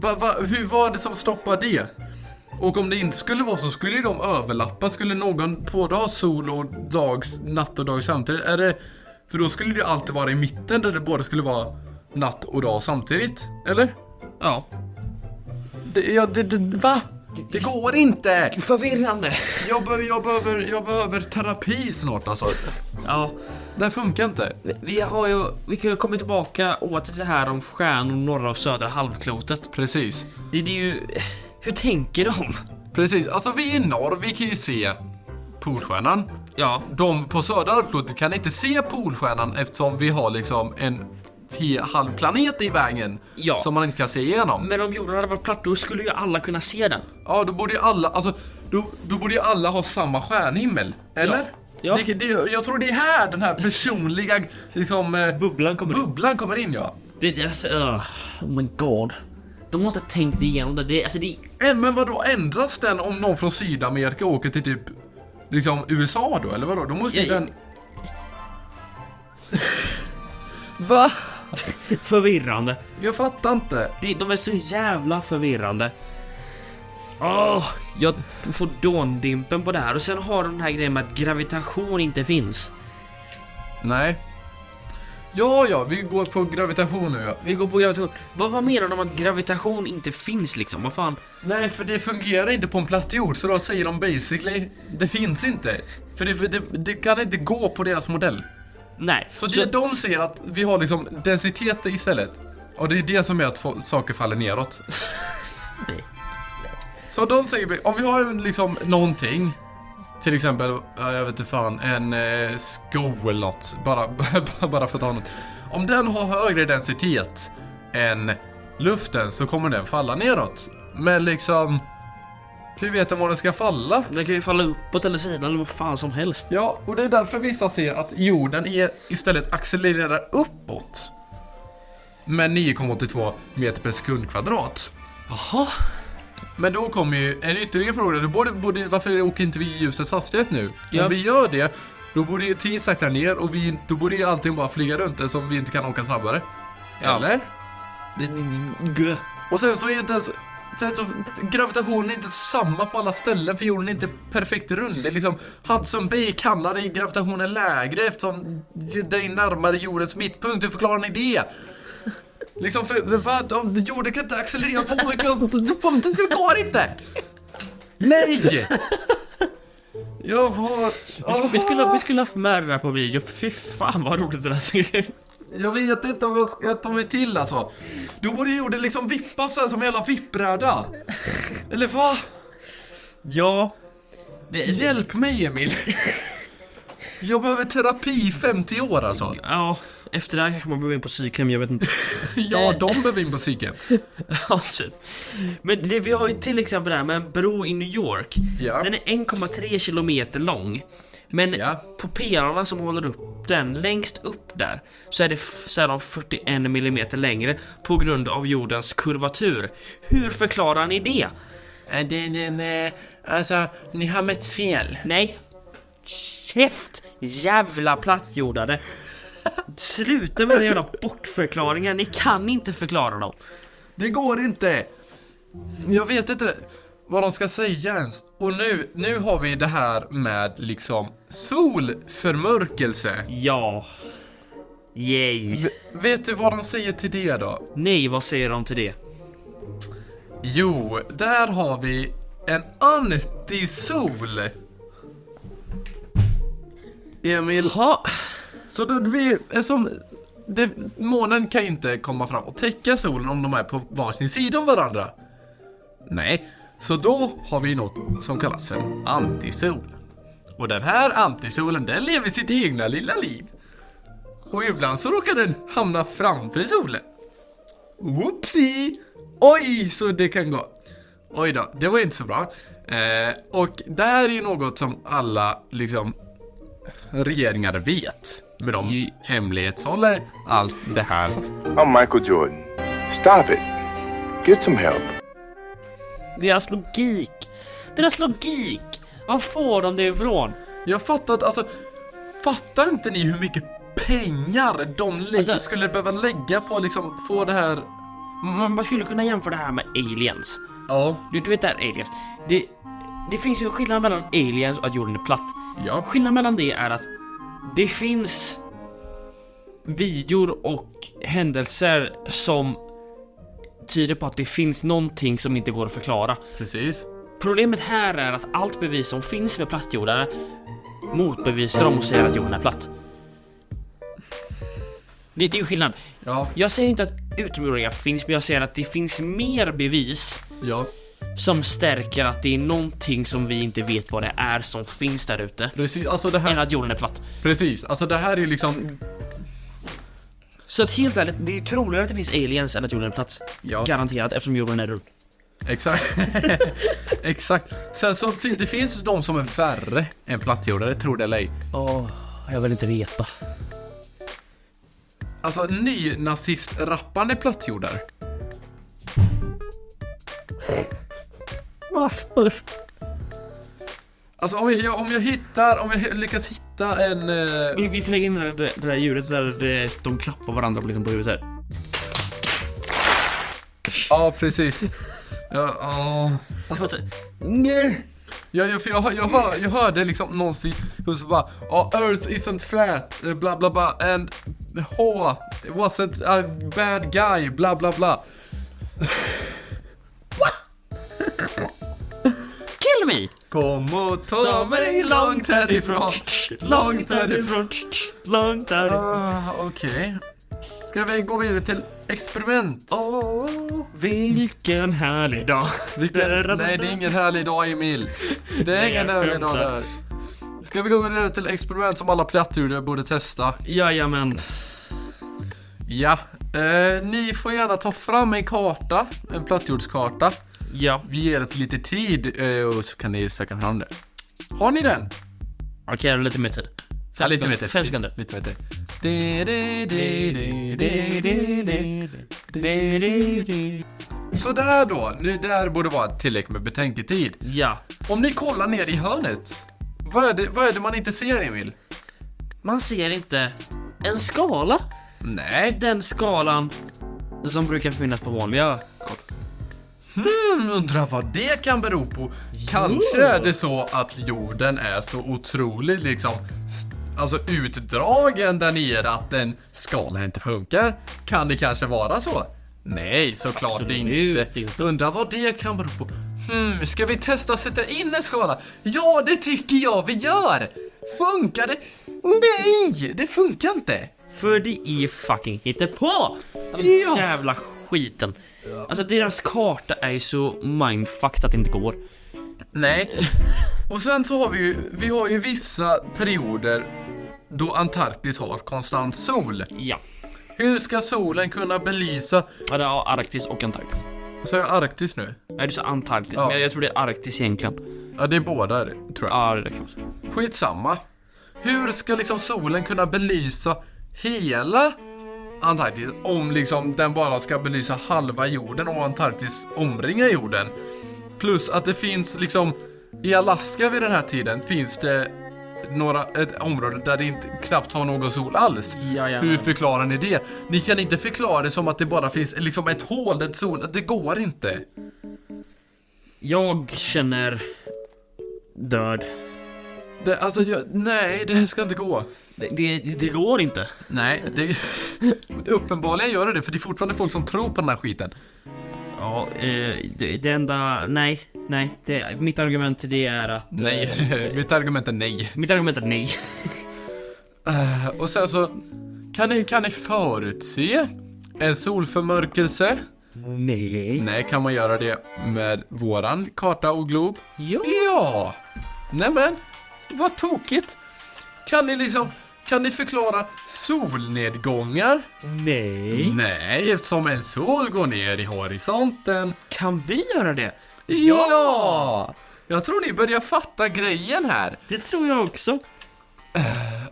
[SPEAKER 2] Va, va, hur var det som stoppade det? Och om det inte skulle vara så skulle ju de överlappa, skulle någon både ha sol och dags, natt och dag samtidigt? Är det, för då skulle det ju alltid vara i mitten där det både skulle vara natt och dag samtidigt, eller?
[SPEAKER 3] Ja.
[SPEAKER 2] Det, ja, det, det, va? Det går inte!
[SPEAKER 3] Förvirrande.
[SPEAKER 2] Jag, be- jag, behöver, jag behöver terapi snart alltså.
[SPEAKER 3] Ja,
[SPEAKER 2] Det här funkar inte.
[SPEAKER 3] vi- vi har ju, vi kan ju komma tillbaka åt det här om stjärnor norra och södra halvklotet.
[SPEAKER 2] Precis.
[SPEAKER 3] Det, det är ju, hur tänker de?
[SPEAKER 2] Precis. Alltså vi i norr, vi kan ju se Polstjärnan.
[SPEAKER 3] Ja,
[SPEAKER 2] De på södra halvklotet kan inte se Polstjärnan eftersom vi har liksom en he- halv planet i vägen.
[SPEAKER 3] Ja.
[SPEAKER 2] Som man inte kan se igenom.
[SPEAKER 3] men om jorden hade varit platt då skulle ju alla kunna se den.
[SPEAKER 2] Ja, då borde ju alla, alltså, då, då borde ju alla ha samma stjärnhimmel. Eller?
[SPEAKER 3] Ja.
[SPEAKER 2] Det, det, jag tror det är här den här personliga liksom, eh,
[SPEAKER 3] Bubblan kommer in.
[SPEAKER 2] bubblan kommer in ja.
[SPEAKER 3] Det är deras, uh, oh my god. De har inte tänkt igenom det. det alltså det,
[SPEAKER 2] Än, Eh, men vadå, ändras den om någon från Sydamerika åker till typ liksom, USA då? Eller vadå? Då måste ju
[SPEAKER 3] Ja, ja.
[SPEAKER 2] den... Va?
[SPEAKER 3] förvirrande.
[SPEAKER 2] Jag fattar inte.
[SPEAKER 3] Det, de är så jävla förvirrande. Åh, jag får dåndimpen på det här och sen har de den här grejen med att gravitation inte finns.
[SPEAKER 2] Nej. Ja, ja, vi går på gravitation nu ja.
[SPEAKER 3] Vi går på gravitation. Vad, vad menar de att gravitation inte finns liksom? Vad fan?
[SPEAKER 2] Nej, för det fungerar inte på en platt jord, så då säger de basically, det finns inte. För det, för det, det kan inte gå på deras modell.
[SPEAKER 3] Nej.
[SPEAKER 2] Så, det de säger att vi har liksom densitet istället. Och det är det som gör att få, saker faller neråt.
[SPEAKER 3] Nej.
[SPEAKER 2] Så de säger, vi- om vi har en, liksom någonting, till exempel, ja, jag vet inte fan, en eh, sko eller något, bara, bara för att ha något. Om den har högre densitet än luften så kommer den falla neråt. Men liksom, hur vet den var den ska falla?
[SPEAKER 3] Den kan ju falla uppåt eller sidan eller vad fan som helst.
[SPEAKER 2] Ja, och det är därför vissa ser att jorden är istället accelererar uppåt med 9,82 meter per sekund kvadrat.
[SPEAKER 3] Jaha?
[SPEAKER 2] Men då kommer ju en ytterligare fråga. Då borde, borde, varför åker inte vi i ljusets hastighet nu?
[SPEAKER 3] Ja.
[SPEAKER 2] Om vi gör det, då borde ju tiden sakta ner och vi, då borde ju allting bara flyga runt eftersom vi inte kan åka snabbare.
[SPEAKER 3] Ja.
[SPEAKER 2] Eller?
[SPEAKER 3] Det,
[SPEAKER 2] Och sen så är inte ens... Sen så, gravitationen är inte samma på alla ställen för jorden är inte perfekt rund. Det är liksom Hudson Bay i Kanada är gravitationen lägre eftersom det är närmare jordens mittpunkt. Hur förklarar ni det? Liksom för, för vad, om jorden kan inte accelerera på olika... Det går inte! Nej! Jag var...
[SPEAKER 3] vi, skulle, vi, skulle, vi skulle haft med det där på video. Fy fan vad roligt det där ser ut.
[SPEAKER 2] Jag vet inte om jag ska ta mig till alltså. Då borde jorden liksom vippa så här som en jävla vippbräda. Eller vad?
[SPEAKER 3] Ja. Det,
[SPEAKER 2] Hjälp mig Emil! Jag behöver terapi i 50 år alltså.
[SPEAKER 3] ja, efter det här kanske man behöver in på psykhem, jag vet inte.
[SPEAKER 2] Ja, de behöver in på psyken.
[SPEAKER 3] Ja, typ. Men det, vi har ju till exempel det här med en bro i New York.
[SPEAKER 2] Ja.
[SPEAKER 3] Den är 1,3 kilometer lång. Men
[SPEAKER 2] Ja.
[SPEAKER 3] på pelarna som håller upp den längst upp där så är, det, f- så är de 41 millimeter längre på grund av jordens kurvatur. Hur förklarar ni det?
[SPEAKER 2] Den, den, alltså, ni har mätt fel.
[SPEAKER 3] Nej. Käft! Jävla plattjordare. Sluta med den jävla bortförklaringen. Ni kan inte förklara dem.
[SPEAKER 2] Det går inte! Jag vet inte vad de ska säga ens. Och nu, nu har vi det här med liksom solförmörkelse.
[SPEAKER 3] Ja. Yay.
[SPEAKER 2] V- vet du vad de säger till det då?
[SPEAKER 3] Nej, vad säger de till det?
[SPEAKER 2] Jo, där har vi en antisol. Emil.
[SPEAKER 3] Ha.
[SPEAKER 2] Så då vi, som, det, månen kan ju inte komma fram och täcka solen om de är på varsin sida om varandra. Nej, så då har vi något som kallas för en antisol. Och den här antisolen, den lever sitt egna lilla liv. Och ibland så råkar den hamna framför solen. Whoopsie! Oj, så det kan gå. Oj då, det var inte så bra. Eh, och det här är ju något som alla liksom regeringar vet. Men de hemlighetshåller allt det här.
[SPEAKER 7] I'm Michael Jordan. Stop it. Get some help.
[SPEAKER 3] Deras logik. Deras logik. Var får de det ifrån?
[SPEAKER 2] Jag fattar inte, alltså. Fattar inte ni hur mycket pengar de lä-
[SPEAKER 3] Alltså-
[SPEAKER 2] skulle behöva lägga på liksom få det här?
[SPEAKER 3] Man, man skulle kunna jämföra det här med aliens.
[SPEAKER 2] Ja.
[SPEAKER 3] Du, du vet det här aliens. Det, det finns ju en skillnad mellan aliens och att jorden är platt.
[SPEAKER 2] Ja.
[SPEAKER 3] Skillnaden mellan det är att det finns videor och händelser som tyder på att det finns någonting som inte går att förklara.
[SPEAKER 2] Precis.
[SPEAKER 3] Problemet här är att allt bevis som finns med plattjordar motbevisar dem och säger att jorden är platt. Det, det är ju skillnad.
[SPEAKER 2] Ja,
[SPEAKER 3] Jag säger inte att utomjordingar finns, men jag säger att det finns mer bevis
[SPEAKER 2] ja,
[SPEAKER 3] som stärker att det är någonting som vi inte vet vad det är som finns där ute.
[SPEAKER 2] precis. Alltså det
[SPEAKER 3] Än
[SPEAKER 2] här,
[SPEAKER 3] att jorden är platt.
[SPEAKER 2] precis. Alltså det här är liksom...
[SPEAKER 3] Så att helt ärligt, det är troligare att det finns aliens än att jorden är platt.
[SPEAKER 2] Ja.
[SPEAKER 3] Garanterat, eftersom jorden är rund.
[SPEAKER 2] Exakt. Exakt. Sen så fin- det finns de som är värre än plattjordare, tror det eller ej.
[SPEAKER 3] Åh, jag vill inte veta.
[SPEAKER 2] Alltså nynazistrappande plattjordar.
[SPEAKER 3] Varför?
[SPEAKER 2] Alltså om jag, om jag hittar, om jag lyckas hitta en... Eh,
[SPEAKER 3] Vi, vi får lägga in det, där- det där ljudet där det, de klappar varandra liksom på huvudet här.
[SPEAKER 2] ja, precis. Ja, ja.
[SPEAKER 3] Alltså,
[SPEAKER 2] Ja, ja, för jag, hör- jag, hör, jag hörde liksom någonstans hon så bara ja Earth isn't flat, eh, bla bla bla and H wasn't a bad guy, bla bla bla.
[SPEAKER 3] kill me!
[SPEAKER 2] Kom och ta mig långt härifrån, långt härifrån.
[SPEAKER 3] Långt härifrån.
[SPEAKER 2] Ah, Okej. Ska vi gå vidare till experiment?
[SPEAKER 3] Åh, vilken härlig dag.
[SPEAKER 2] Vilken? Nej, det är ingen härlig dag Emil. Det är
[SPEAKER 3] Nej,
[SPEAKER 2] ingen
[SPEAKER 3] jag
[SPEAKER 2] härlig dag
[SPEAKER 3] skämtar.
[SPEAKER 2] där. Ska vi gå vidare till experiment som alla plattdjur borde testa?
[SPEAKER 3] Jajamän.
[SPEAKER 2] Ja, eh, ni får gärna ta fram en karta, en plattjordskarta.
[SPEAKER 3] Ja,
[SPEAKER 2] Vi ger ett lite tid eh, och så kan ni söka fram det. Har ni den?
[SPEAKER 3] okej, okay, lite mer tid. Fem
[SPEAKER 2] lite mer tid.
[SPEAKER 3] Fem sekunder.
[SPEAKER 2] Lite vad heter det? De, de, de, de, de, de. Sådär då, nu där borde vara tillräckligt med betänketid.
[SPEAKER 3] Ja.
[SPEAKER 2] Om ni kollar ner i hörnet, vad är det, vad är det man inte ser Emil?
[SPEAKER 3] Man ser inte en skala.
[SPEAKER 2] Nej.
[SPEAKER 3] Den skalan som brukar finnas på vanliga kort.
[SPEAKER 2] Mm, undrar vad det kan bero på. Kanske är det så att jorden är så otroligt liksom st- Alltså utdragen där nere att en skala inte funkar. Kan det kanske vara så? Nej, såklart
[SPEAKER 3] Absolut
[SPEAKER 2] inte.
[SPEAKER 3] inte.
[SPEAKER 2] Undrar vad det kan bero på. Hmm, ska vi testa att sätta in en skala? Ja, det tycker jag vi gör! Funkar det? Nej, det funkar inte.
[SPEAKER 3] För det är fucking hittepå! Den
[SPEAKER 2] Ja.
[SPEAKER 3] jävla skiten. Alltså deras karta är ju så mindfucked att det inte går.
[SPEAKER 2] Nej. Och sen så har vi ju, vi har ju vissa perioder då Antarktis har konstant sol.
[SPEAKER 3] Ja.
[SPEAKER 2] Hur ska solen kunna belysa,
[SPEAKER 3] Ja, det är Arktis och Antarktis.
[SPEAKER 2] sa jag Arktis nu?
[SPEAKER 3] Nej, du sa Antarktis,
[SPEAKER 2] Ja.
[SPEAKER 3] men jag tror det är Arktis egentligen.
[SPEAKER 2] Ja det är båda tror jag.
[SPEAKER 3] Ja, det räcker. också.
[SPEAKER 2] Skitsamma. Hur ska liksom solen kunna belysa hela Antarktis om liksom den bara ska belysa halva jorden och Antarktis omringar jorden? Plus att det finns liksom i Alaska vid den här tiden finns det några, ett område där det inte, knappt har någon sol alls.
[SPEAKER 3] Ja, ja.
[SPEAKER 2] Hur förklarar ni det? Ni kan inte förklara det som att det bara finns liksom ett hål där sol, det går inte.
[SPEAKER 3] Jag känner... Död.
[SPEAKER 2] Det, alltså, jag, nej, det här ska inte gå.
[SPEAKER 3] Det, det, det går inte.
[SPEAKER 2] Nej, det, uppenbarligen gör det det, för det är fortfarande folk som tror på den här skiten.
[SPEAKER 3] Ja, eh, det, det enda... Nej, nej. Det, mitt argument till det är att... eh,
[SPEAKER 2] Nej, mitt argument är nej.
[SPEAKER 3] Mitt argument är nej.
[SPEAKER 2] Och sen så, kan ni, kan ni förutse en solförmörkelse?
[SPEAKER 3] Nej.
[SPEAKER 2] Nej, kan man göra det med våran karta och glob?
[SPEAKER 3] Ja.
[SPEAKER 2] Ja! Nämen, vad tokigt! Kan ni liksom, kan ni förklara solnedgångar?
[SPEAKER 3] Nej.
[SPEAKER 2] Nej, eftersom en sol går ner i horisonten.
[SPEAKER 3] Kan vi göra det?
[SPEAKER 2] Ja! Jag tror ni börjar fatta grejen här.
[SPEAKER 3] Det tror jag också.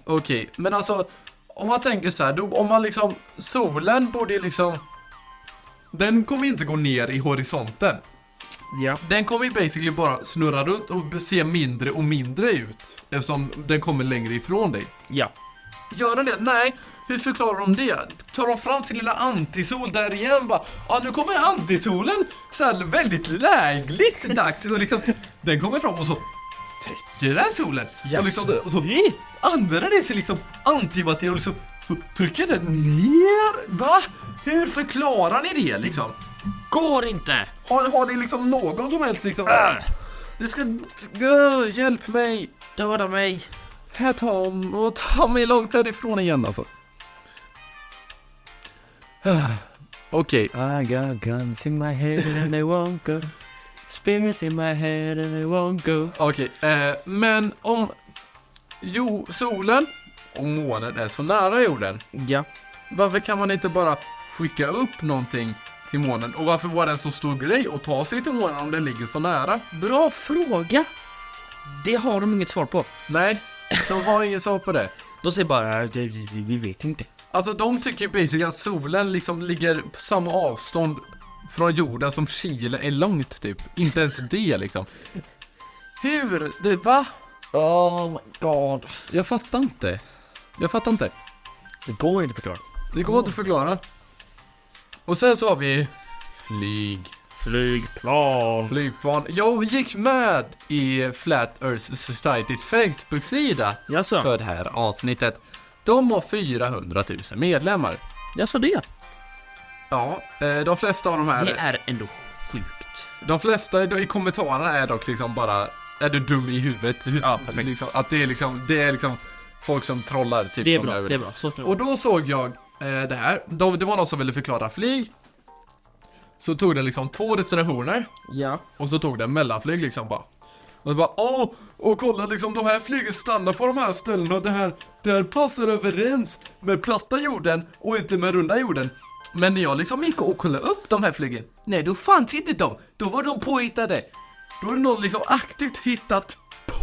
[SPEAKER 2] Okej, men alltså om man tänker så här, då, om man liksom, solen borde ju liksom, den kommer inte gå ner i horisonten.
[SPEAKER 3] Ja.
[SPEAKER 2] Den kommer ju basically bara snurra runt och se mindre och mindre ut eftersom den kommer längre ifrån dig.
[SPEAKER 3] Ja.
[SPEAKER 2] Gör den det? Nej. Hur förklarar de det? Tar de fram sin lilla antisol där igen bara Ja nu kommer antisolen så här väldigt lägligt dags och liksom Den kommer fram och så täcker den solen och, liksom, och så
[SPEAKER 3] Nej.
[SPEAKER 2] använder det till liksom antimateria och liksom så trycker den ner Va? Hur förklarar ni det liksom?
[SPEAKER 3] Går inte!
[SPEAKER 2] Har, har ni liksom någon som helst liksom Det ska... Åh, hjälp mig!
[SPEAKER 3] Döda mig!
[SPEAKER 2] Här Tom, och ta mig långt härifrån igen alltså. Ah, Okej,
[SPEAKER 8] I got guns in my head and they won't go. Spirits in my head and they won't go.
[SPEAKER 2] okej. Eh, men om... Jo, solen och månen är så nära jorden.
[SPEAKER 3] Ja.
[SPEAKER 2] Varför kan man inte bara skicka upp någonting till månen? Och varför var det en så stor grej att ta sig till månen om den ligger så nära?
[SPEAKER 3] Bra fråga! Det har de inget svar på.
[SPEAKER 2] Nej, de har ingen svar på det.
[SPEAKER 3] De säger bara "Äh, det- vi vi vet inte.
[SPEAKER 2] Alltså de tycker ju basically att solen liksom ligger på samma avstånd från jorden som Chile är långt typ. Inte ens det liksom. Hur? Du, va?
[SPEAKER 3] Oh my god.
[SPEAKER 2] Jag fattar inte. Jag fattar inte.
[SPEAKER 3] Det går inte att förklara.
[SPEAKER 2] Det går inte att förklara. Och sen så har vi flyg.
[SPEAKER 3] Flygplan.
[SPEAKER 2] Flygplan. Jag gick med i Flat Earth Societys Facebook-sida
[SPEAKER 3] Jaså?
[SPEAKER 2] för det här avsnittet. De har 400 000 medlemmar.
[SPEAKER 3] Jaså det?
[SPEAKER 2] Ja, eh, de flesta av de här...
[SPEAKER 3] Det är ändå sjukt.
[SPEAKER 2] De flesta i- i kommentarerna är dock liksom bara Är du dum i huvudet? Hur-
[SPEAKER 3] Ja, perfekt.
[SPEAKER 2] Liksom, att det är liksom, det är liksom folk som trollar typ
[SPEAKER 3] Det är
[SPEAKER 2] som
[SPEAKER 3] bra,
[SPEAKER 2] jag vill.
[SPEAKER 3] det är bra. Så ska det
[SPEAKER 2] Och
[SPEAKER 3] vara.
[SPEAKER 2] då såg jag eh, det här, de, det var någon som ville förklara flyg Så tog den liksom två destinationer
[SPEAKER 3] Ja.
[SPEAKER 2] och så tog den mellanflyg liksom bara och det bara åh, och kolla liksom de här flygen stannar på de här ställena och det här, det här passar överens med platta jorden och inte med runda jorden. Men när jag liksom gick och kollade upp de här flygen, nej då fanns inte de, då var de påhittade. Då hade någon liksom aktivt hittat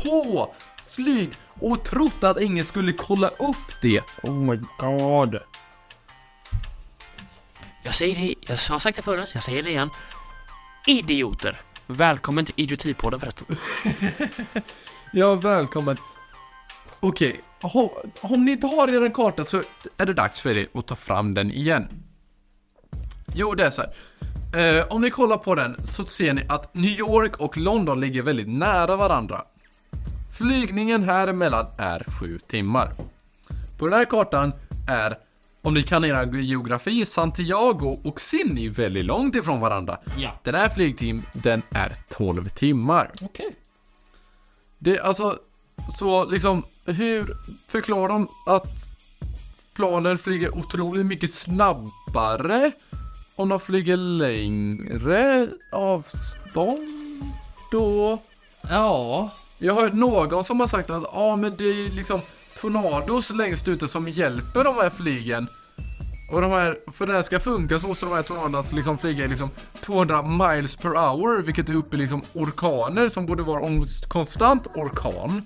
[SPEAKER 2] på flyg och trott att ingen skulle kolla upp det.
[SPEAKER 3] Oh my god.
[SPEAKER 8] Jag säger det, jag har sagt det förut, jag säger det igen. Idioter! Välkommen till Idiotipodden förresten.
[SPEAKER 2] Ja, välkommen. Okej, ho- om ni inte har er en karta så är det dags för er att ta fram den igen. Jo, det är så här. Eh, om ni kollar på den så ser ni att New York och London ligger väldigt nära varandra. Flygningen här emellan är 7 timmar. På den här kartan är, om ni kan era geografi, Santiago och Sydney väldigt långt ifrån varandra.
[SPEAKER 3] Ja.
[SPEAKER 2] Den här flygtim, den är 12 timmar.
[SPEAKER 3] Okej.
[SPEAKER 2] Det, alltså, så liksom, hur förklarar de att planen flyger otroligt mycket snabbare om de flyger längre avstånd då?
[SPEAKER 3] Ja.
[SPEAKER 2] Jag har hört någon som har sagt att ja, men det är liksom tornados längst ute som hjälper de här flygen. Och de här, för det här ska funka så måste de här tornados liksom flyga i liksom 200 miles per hour, vilket är uppe i liksom orkaner som borde vara en konstant orkan.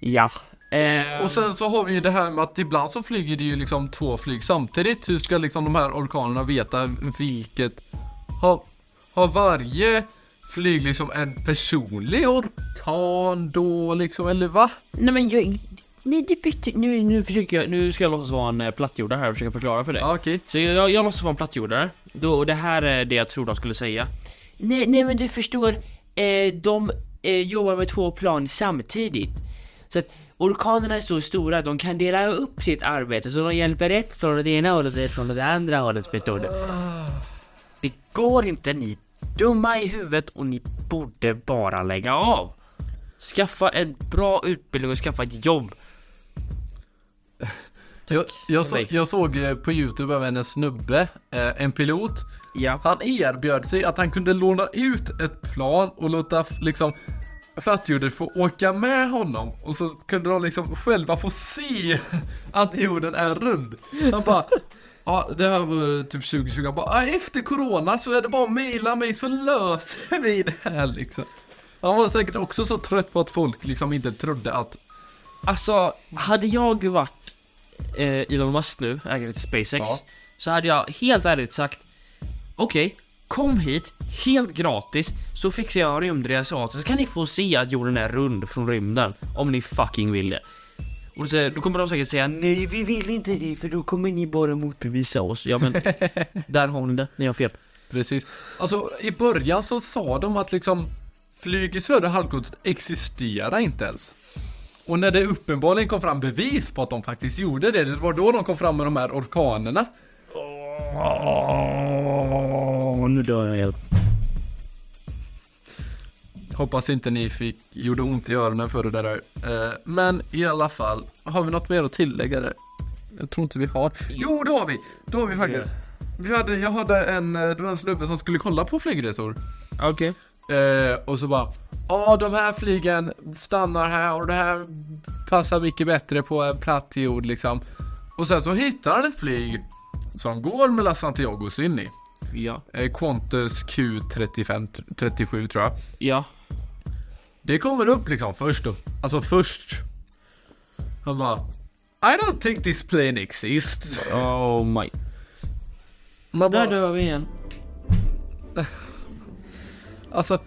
[SPEAKER 3] Ja. Eh,
[SPEAKER 2] Och sen så har vi ju det här med att ibland så flyger det ju liksom två flyg samtidigt. Hur ska liksom de här orkanerna veta vilket? Har, har varje flyg liksom en personlig orkan då liksom, eller va?
[SPEAKER 3] nej men jag... Nej, det fick, nu, nu försöker jag, nu ska jag låtsas vara en eh, plattjordare här och försöka förklara för dig.
[SPEAKER 2] Ja, okej.
[SPEAKER 3] Så jag, jag, jag låtsas vara en plattjordare. Då, och det här är det jag tror de skulle säga. Nej, nej men du förstår. Eh, de eh, jobbar med två plan samtidigt. Så att orkanerna är så stora att de kan dela upp sitt arbete. Så de hjälper ett från det ena hållet och ett från det andra hållet. Förstår du? Ah. Det går inte. Ni är dumma i huvudet och ni borde bara lägga av. Skaffa en bra utbildning och skaffa ett jobb.
[SPEAKER 2] Jag, jag, så,
[SPEAKER 3] Tack.
[SPEAKER 2] jag såg eh, på YouTube även en snubbe, eh, en pilot.
[SPEAKER 3] Ja.
[SPEAKER 2] Han erbjöd sig att han kunde låna ut ett plan och låta f- liksom plattjorden få åka med honom och så kunde de liksom själva få se att jorden är rund. Han bara Ja, det här var typ 2020. Han bara, "Ja, efter corona så är det bara att mejla mig så löser vi det här liksom. Han var säkert också så trött på att folk liksom inte trodde att,
[SPEAKER 3] Alltså, hade jag varit eh, Elon Musk nu, ägare till SpaceX,
[SPEAKER 2] Ja.
[SPEAKER 3] så hade jag helt ärligt sagt Okej, kom hit helt gratis så fixar jag en rymdresa åt er, så kan ni få se att jorden är rund från rymden om ni fucking vill det. Och då, säger, då kommer de säkert säga nej vi vill inte det för då kommer ni bara motbevisa oss. Ja men, där har ni det, ni har fel.
[SPEAKER 2] Precis. Alltså i början så sa de att liksom flyg i södra halvklotet existerar inte ens. Och när det uppenbarligen kom fram bevis på att de faktiskt gjorde det, det var då de kom fram med de här orkanerna.
[SPEAKER 3] Åh, nu dör jag helt.
[SPEAKER 2] Hoppas inte ni fick, gjorde ont i öronen för det där. Eh, men i alla fall, har vi något mer att tillägga där? Jag tror inte vi har. Jo, det har vi! Det har vi faktiskt. Vi hade, jag hade en, eh, det var en snubbe som skulle kolla på flygresor.
[SPEAKER 3] Okej.
[SPEAKER 2] Eh, och så bara, ja de här flygen stannar här och det här passar mycket bättre på en platt jord liksom. Och sen så hittar han ett flyg som går mellan Santiago och Sydney.
[SPEAKER 3] Ja.
[SPEAKER 2] Eh, Qantas Q37 tror jag.
[SPEAKER 3] Ja.
[SPEAKER 2] Det kommer upp liksom först då. Alltså först. Han bara, I don't think this plane exists.
[SPEAKER 3] Oh my.
[SPEAKER 2] Man
[SPEAKER 3] Där
[SPEAKER 2] bara,
[SPEAKER 3] dör vi igen.
[SPEAKER 2] Alltså,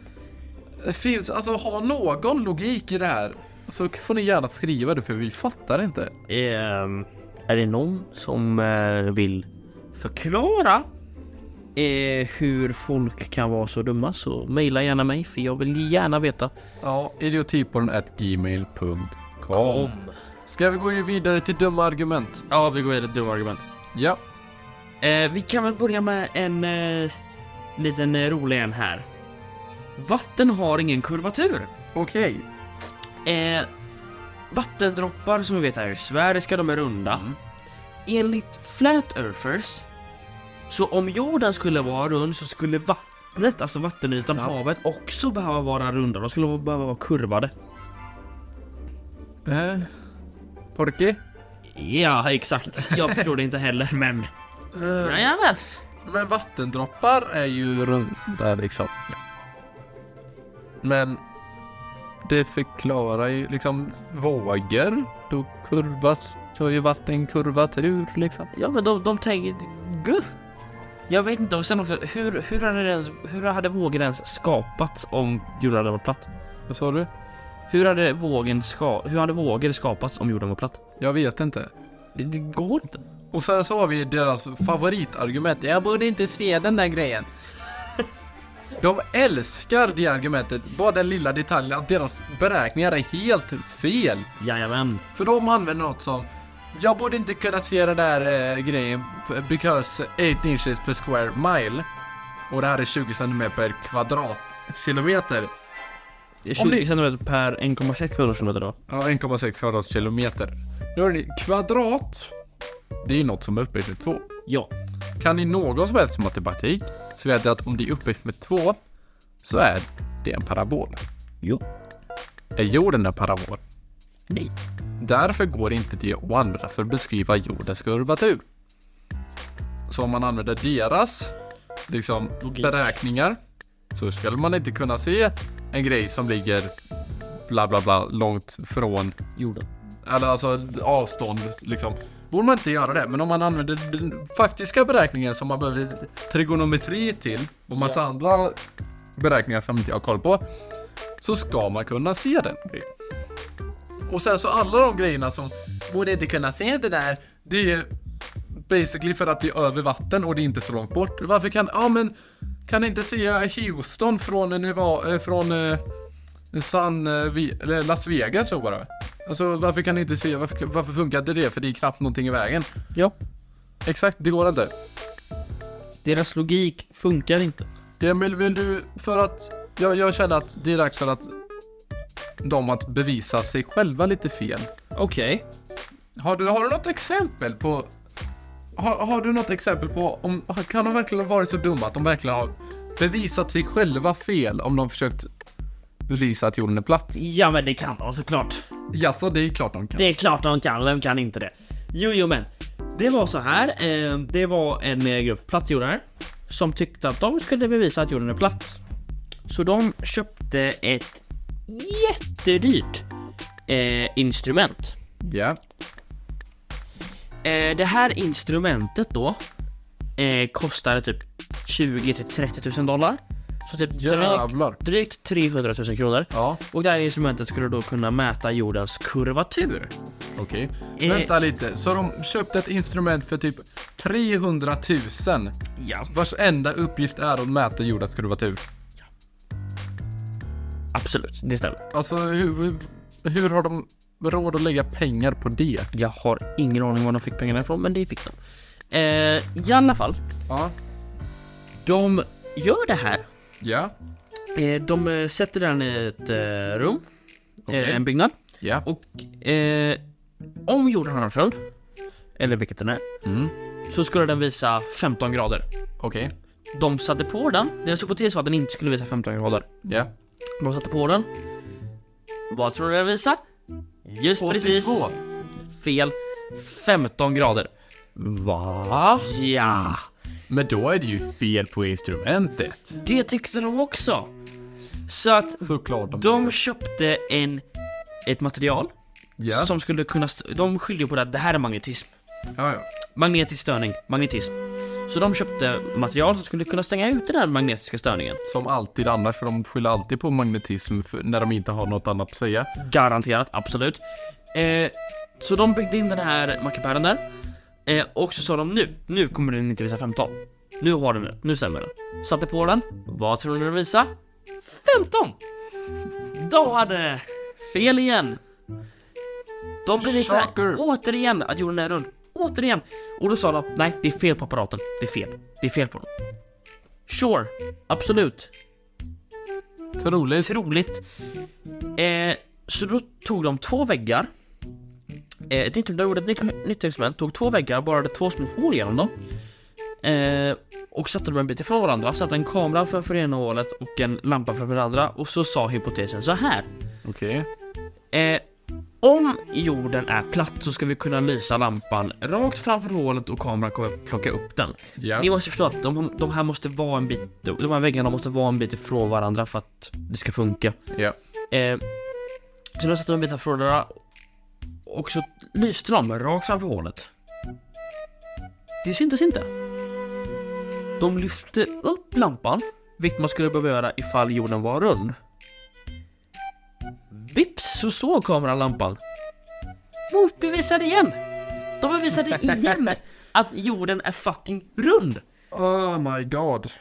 [SPEAKER 2] det finns, alltså ha någon logik i det här. Så får ni gärna skriva det för vi fattar inte.
[SPEAKER 3] Ehm, är det någon som eh, vill förklara eh, hur folk kan vara så dumma så mejla gärna mig för jag vill gärna veta.
[SPEAKER 2] Ja, idiotipodden at gmail.com Ska vi gå vidare till dumma argument?
[SPEAKER 3] Ja, vi går vidare till dumma argument.
[SPEAKER 2] Ja.
[SPEAKER 3] Eh, vi kan väl börja med en eh, liten eh, rolig en här. Vatten har ingen kurvatur.
[SPEAKER 2] Okej.
[SPEAKER 3] Eh, vattendroppar som vi vet är sfäriska, de är runda. Enligt Flat Earthers, så om jorden skulle vara rund så skulle vattnet, alltså vattenytan, havet också behöva vara runda. De skulle behöva vara kurvade.
[SPEAKER 2] Eh, Porky?
[SPEAKER 3] Ja, exakt. Jag förstår det inte heller, men... Jajamän.
[SPEAKER 2] Men vattendroppar är ju runda liksom. Men det förklarar ju liksom vågor. Då kurvas, så är ju vatten kurvatur liksom.
[SPEAKER 3] Ja, men de, de tänker... Guh. Jag vet inte, och sen också, hur, hur, hade det ens, hur hade vågen ens skapats om jorden hade varit platt?
[SPEAKER 2] Vad sa du?
[SPEAKER 3] Hur hade, vågen ska, hur hade vågor skapats om jorden var platt?
[SPEAKER 2] Jag vet inte.
[SPEAKER 3] Det, det går inte.
[SPEAKER 2] Och sen så har vi deras favoritargument. Jag borde inte se den där grejen. De älskar det argumentet. Bara den lilla detaljen att deras beräkningar är helt fel.
[SPEAKER 3] Jajamän.
[SPEAKER 2] För de använder något som Jag borde inte kunna se den där eh, grejen b- because 8 inches per square mile Och det här är 20 cm per kvadratkilometer
[SPEAKER 3] 20 centimeter per 1,6 kvadratkilometer då.
[SPEAKER 2] Ja, 1,6 kvadratkilometer Nu hör ni, kvadrat Det är ju något som är upphöjt med 2
[SPEAKER 3] Ja.
[SPEAKER 2] Kan ni någon som helst matematik så vet ni att om det är upphöjt med 2 så är det en parabol
[SPEAKER 3] Jo.
[SPEAKER 2] Är jorden en parabol?
[SPEAKER 3] Nej.
[SPEAKER 2] Därför går inte det att använda för att beskriva jordens kurvatur. Så om man använder deras liksom,
[SPEAKER 3] Logik.
[SPEAKER 2] beräkningar så skulle man inte kunna se en grej som ligger bla bla bla långt från,
[SPEAKER 3] Jorden.
[SPEAKER 2] eller alltså avstånd liksom. Borde man inte göra det, men om man använder den faktiska beräkningen som man behöver trigonometri till och massa andra beräkningar som inte jag har koll på så ska man kunna se den grejen. Och sen så alla de grejerna som borde inte kunna se det där, det är basically för att det är över vatten och det är inte så långt bort. Varför kan, ja men, kan inte se Houston från, Neva, eh, från eh, San, eh, Vi- eller Las Vegas så bara? Alltså varför kan ni inte se, varför, varför funkar inte det? För det är knappt någonting i vägen.
[SPEAKER 3] Ja.
[SPEAKER 2] Exakt, det går inte.
[SPEAKER 3] Deras logik funkar inte.
[SPEAKER 2] Emil, vill du, för att jag, jag känner att det är dags för att de att bevisa sig själva lite fel.
[SPEAKER 3] Okej.
[SPEAKER 2] Har du, har du något exempel på har, har du något exempel på om kan de verkligen ha varit så dumma att de verkligen har bevisat sig själva fel om de försökt bevisa att jorden är platt?
[SPEAKER 3] Ja men det kan de såklart.
[SPEAKER 2] Jaså, det är klart de kan.
[SPEAKER 3] Det är klart de kan, vem kan inte det? Jo, jo men. Det var så här, eh, det var en eh, grupp plattjordar som tyckte att de skulle bevisa att jorden är platt. Så de köpte ett jättedyrt eh, instrument.
[SPEAKER 2] Ja.
[SPEAKER 3] Eh, det här instrumentet då eh, kostade typ 20 till 30 000 dollar. Så typ drygt,
[SPEAKER 2] Jävlar.
[SPEAKER 3] drygt 300 000 kronor.
[SPEAKER 2] Ja,
[SPEAKER 3] Och det här instrumentet skulle då kunna mäta jordens kurvatur.
[SPEAKER 2] okej.
[SPEAKER 3] Eh.
[SPEAKER 2] Vänta lite, så de köpte ett instrument för typ 300 000
[SPEAKER 3] Ja.
[SPEAKER 2] vars enda uppgift är att mäta jordens kurvatur.
[SPEAKER 3] Absolut, det stämmer.
[SPEAKER 2] Alltså hur, hur har de råd att lägga pengar på det?
[SPEAKER 3] Jag har ingen aning var de fick pengarna ifrån, men det fick de. Eh, I alla fall,
[SPEAKER 2] Ja.
[SPEAKER 3] de gör det här.
[SPEAKER 2] Ja.
[SPEAKER 3] Eh, de eh, sätter den i ett eh, rum,
[SPEAKER 2] Okej.
[SPEAKER 3] eh, en byggnad.
[SPEAKER 2] Ja.
[SPEAKER 3] Och eh, om jorden har en sköld, eller vilket den är,
[SPEAKER 2] Mm.
[SPEAKER 3] så skulle den visa 15 grader.
[SPEAKER 2] Okej.
[SPEAKER 3] De satte på den, deras hypotes var att den inte skulle visa 15 grader.
[SPEAKER 2] Ja.
[SPEAKER 3] De satte på den. Vad tror du den visar? Just precis
[SPEAKER 2] 82.
[SPEAKER 3] fel. 15 grader.
[SPEAKER 2] Va?
[SPEAKER 3] Ja,
[SPEAKER 2] Men då är det ju fel på instrumentet.
[SPEAKER 3] det tyckte de också. Så att
[SPEAKER 2] Såklart. De...
[SPEAKER 3] de köpte en, ett material
[SPEAKER 2] Ja.
[SPEAKER 3] som skulle kunna... st- De skyllde ju på det att det här är magnetism.
[SPEAKER 2] Ja, ja.
[SPEAKER 3] Magnetisk störning, magnetism. Så de köpte material som skulle kunna stänga ut den här magnetiska störningen.
[SPEAKER 2] Som alltid annars, för de skyller alltid på magnetism för- när de inte har något annat att säga.
[SPEAKER 3] Garanterat, absolut. Eh, så de byggde in den här mackapären där. Eh, och så sa de nu, nu kommer den inte visa 15. Nu har den det, nu stämmer den. Satte på den, vad tror ni den visar? 15! Då hade fel igen. De bevisar
[SPEAKER 2] Shocker.
[SPEAKER 3] återigen att jorden är rund. Återigen. Och då sa de, nej det är fel på apparaten. Det är fel. Det är fel på den. Sure, absolut
[SPEAKER 2] Troligt.
[SPEAKER 3] troligt. Eh, så då tog de två väggar. Eh, ett nytt, de gjorde ett nytt, nytt experiment, tog två väggar, borrade två små hål genom dem. Eh, och satte dem en bit ifrån varandra, satte en kamera framför ena hålet och en lampa framför det andra. Och så sa hypotesen så här.
[SPEAKER 2] Okej.
[SPEAKER 3] Eh, om jorden är platt så ska vi kunna lysa lampan rakt framför hålet och kameran kommer plocka upp den.
[SPEAKER 2] Ja.
[SPEAKER 3] Ni måste förstå att de, de här måste vara en bit, de här väggarna måste vara en bit ifrån varandra för att det ska funka.
[SPEAKER 2] Ja.
[SPEAKER 3] Eh, så då satte de bitar från varandra och så lyste de rakt framför hålet. Det syntes inte. De lyfte upp lampan, vilket man skulle behöva göra ifall jorden var rund. Vips så såg kameran lampan. Motbevisade igen! De bevisade igen att jorden är fucking rund!
[SPEAKER 2] Oh my god.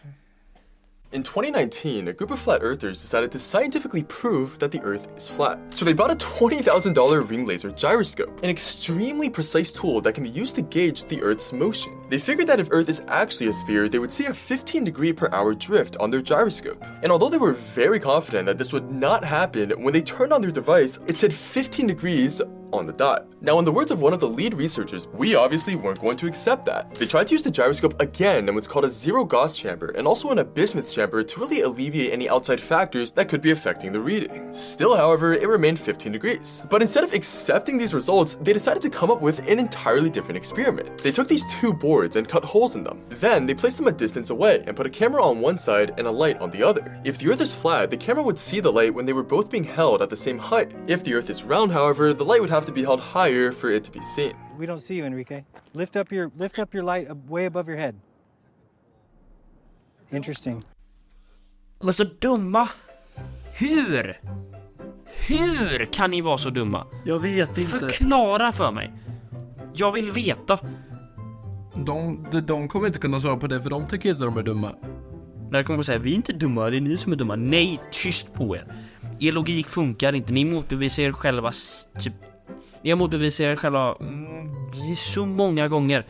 [SPEAKER 9] In 2019, a group of flat earthers decided to scientifically prove that the earth is flat. So they bought a $20,000 ring laser gyroscope, an extremely precise tool that can be used to gauge the earth's motion. They figured that if earth is actually a sphere, they would see a 15 degree per hour drift on their gyroscope. And although they were very confident that this would not happen, when they turned on their device, it said 15 degrees on the dot. Now, in the words of one of the lead researchers, we obviously weren't going to accept that. They tried to use the gyroscope again in what's called a zero Gauss chamber and also in a bismuth chamber to really alleviate any outside factors that could be affecting the reading. Still, however, it remained 15 degrees. But instead of accepting these results, they decided to come up with an entirely different experiment. They took these two boards and cut holes in them. Then, they placed them a distance away and put a camera on one side and a light on the other. If the Earth is flat, the camera would see the light when they were both being held at the same height. If the Earth is round, however, the light would have to be held higher for it to be seen.
[SPEAKER 10] We don't see you, Enrique. Lift up your lift up your light ab- way above your head. Interesting.
[SPEAKER 3] De är så dumma! Hur? Hur kan ni vara så dumma?
[SPEAKER 2] Jag vet inte.
[SPEAKER 3] Förklara för mig. Jag vill veta.
[SPEAKER 2] De, de, de kommer inte kunna svara på det för de tycker inte de är dumma.
[SPEAKER 3] När kommer de säga vi är inte dumma, det är ni som är dumma. Nej, tyst på er. Er logik funkar inte, ni motbevisar er själva s- typ... Ni har motbevisat er själva mm, så många gånger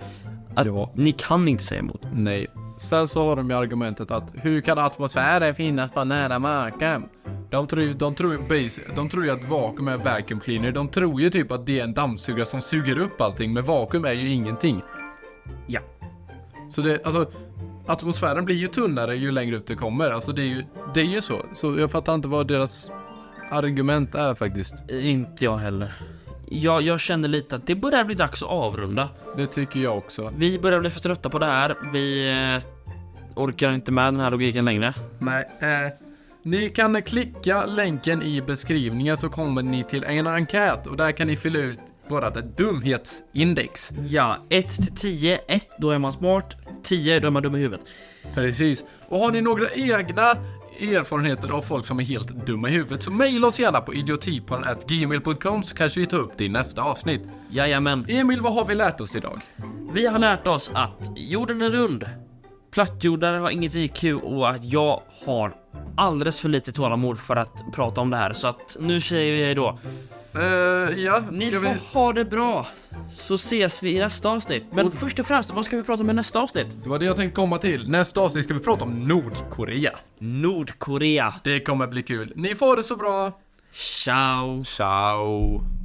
[SPEAKER 3] att
[SPEAKER 2] Ja.
[SPEAKER 3] ni kan inte säga emot.
[SPEAKER 2] Nej. Sen så har de ju argumentet att hur kan atmosfären finnas på nära marken? De tror ju, de tror ju, base, de tror ju att vakuum är en vacuum cleaner. De tror ju typ att det är en dammsugare som suger upp allting, men vakuum är ju ingenting.
[SPEAKER 3] Ja.
[SPEAKER 2] Så det, alltså, atmosfären blir ju tunnare ju längre upp det kommer. Alltså det är ju, det är ju så. Så jag fattar inte vad deras argument är faktiskt.
[SPEAKER 3] Eh, Inte jag heller. Jag, jag känner lite att det börjar bli dags att avrunda.
[SPEAKER 2] Det tycker jag också.
[SPEAKER 3] Vi börjar bli för trötta på det här. Vi eh, orkar inte med den här logiken längre.
[SPEAKER 2] Nej, eh, ni kan klicka länken i beskrivningen så kommer ni till en enkät och där kan ni fylla ut vårat dumhetsindex.
[SPEAKER 3] Ja, 1 till 10. 1, då är man smart. 10, då är man dum i huvudet.
[SPEAKER 2] Precis. Och har ni några egna erfarenheter av folk som är helt dumma i huvudet så mejla oss gärna på idiotipan.gmail.com så kanske vi tar upp det i nästa avsnitt.
[SPEAKER 3] Jajamän.
[SPEAKER 2] Emil, vad har vi lärt oss idag?
[SPEAKER 3] Vi har lärt oss att jorden är rund. Plattjordare har inget IQ och att jag har alldeles för lite tålamod för att prata om det här. Så att nu säger vi då.
[SPEAKER 2] Eh, ja,
[SPEAKER 3] Ni
[SPEAKER 2] ska
[SPEAKER 3] får
[SPEAKER 2] vi...
[SPEAKER 3] ha det bra, så ses vi i nästa avsnitt. Men först och främst, vad ska vi prata om i nästa avsnitt?
[SPEAKER 2] Det var det jag tänkte komma till. Nästa avsnitt ska vi prata om Nordkorea.
[SPEAKER 3] Nordkorea.
[SPEAKER 2] Det kommer bli kul. Ni får det så bra.
[SPEAKER 3] Ciao.
[SPEAKER 2] Ciao.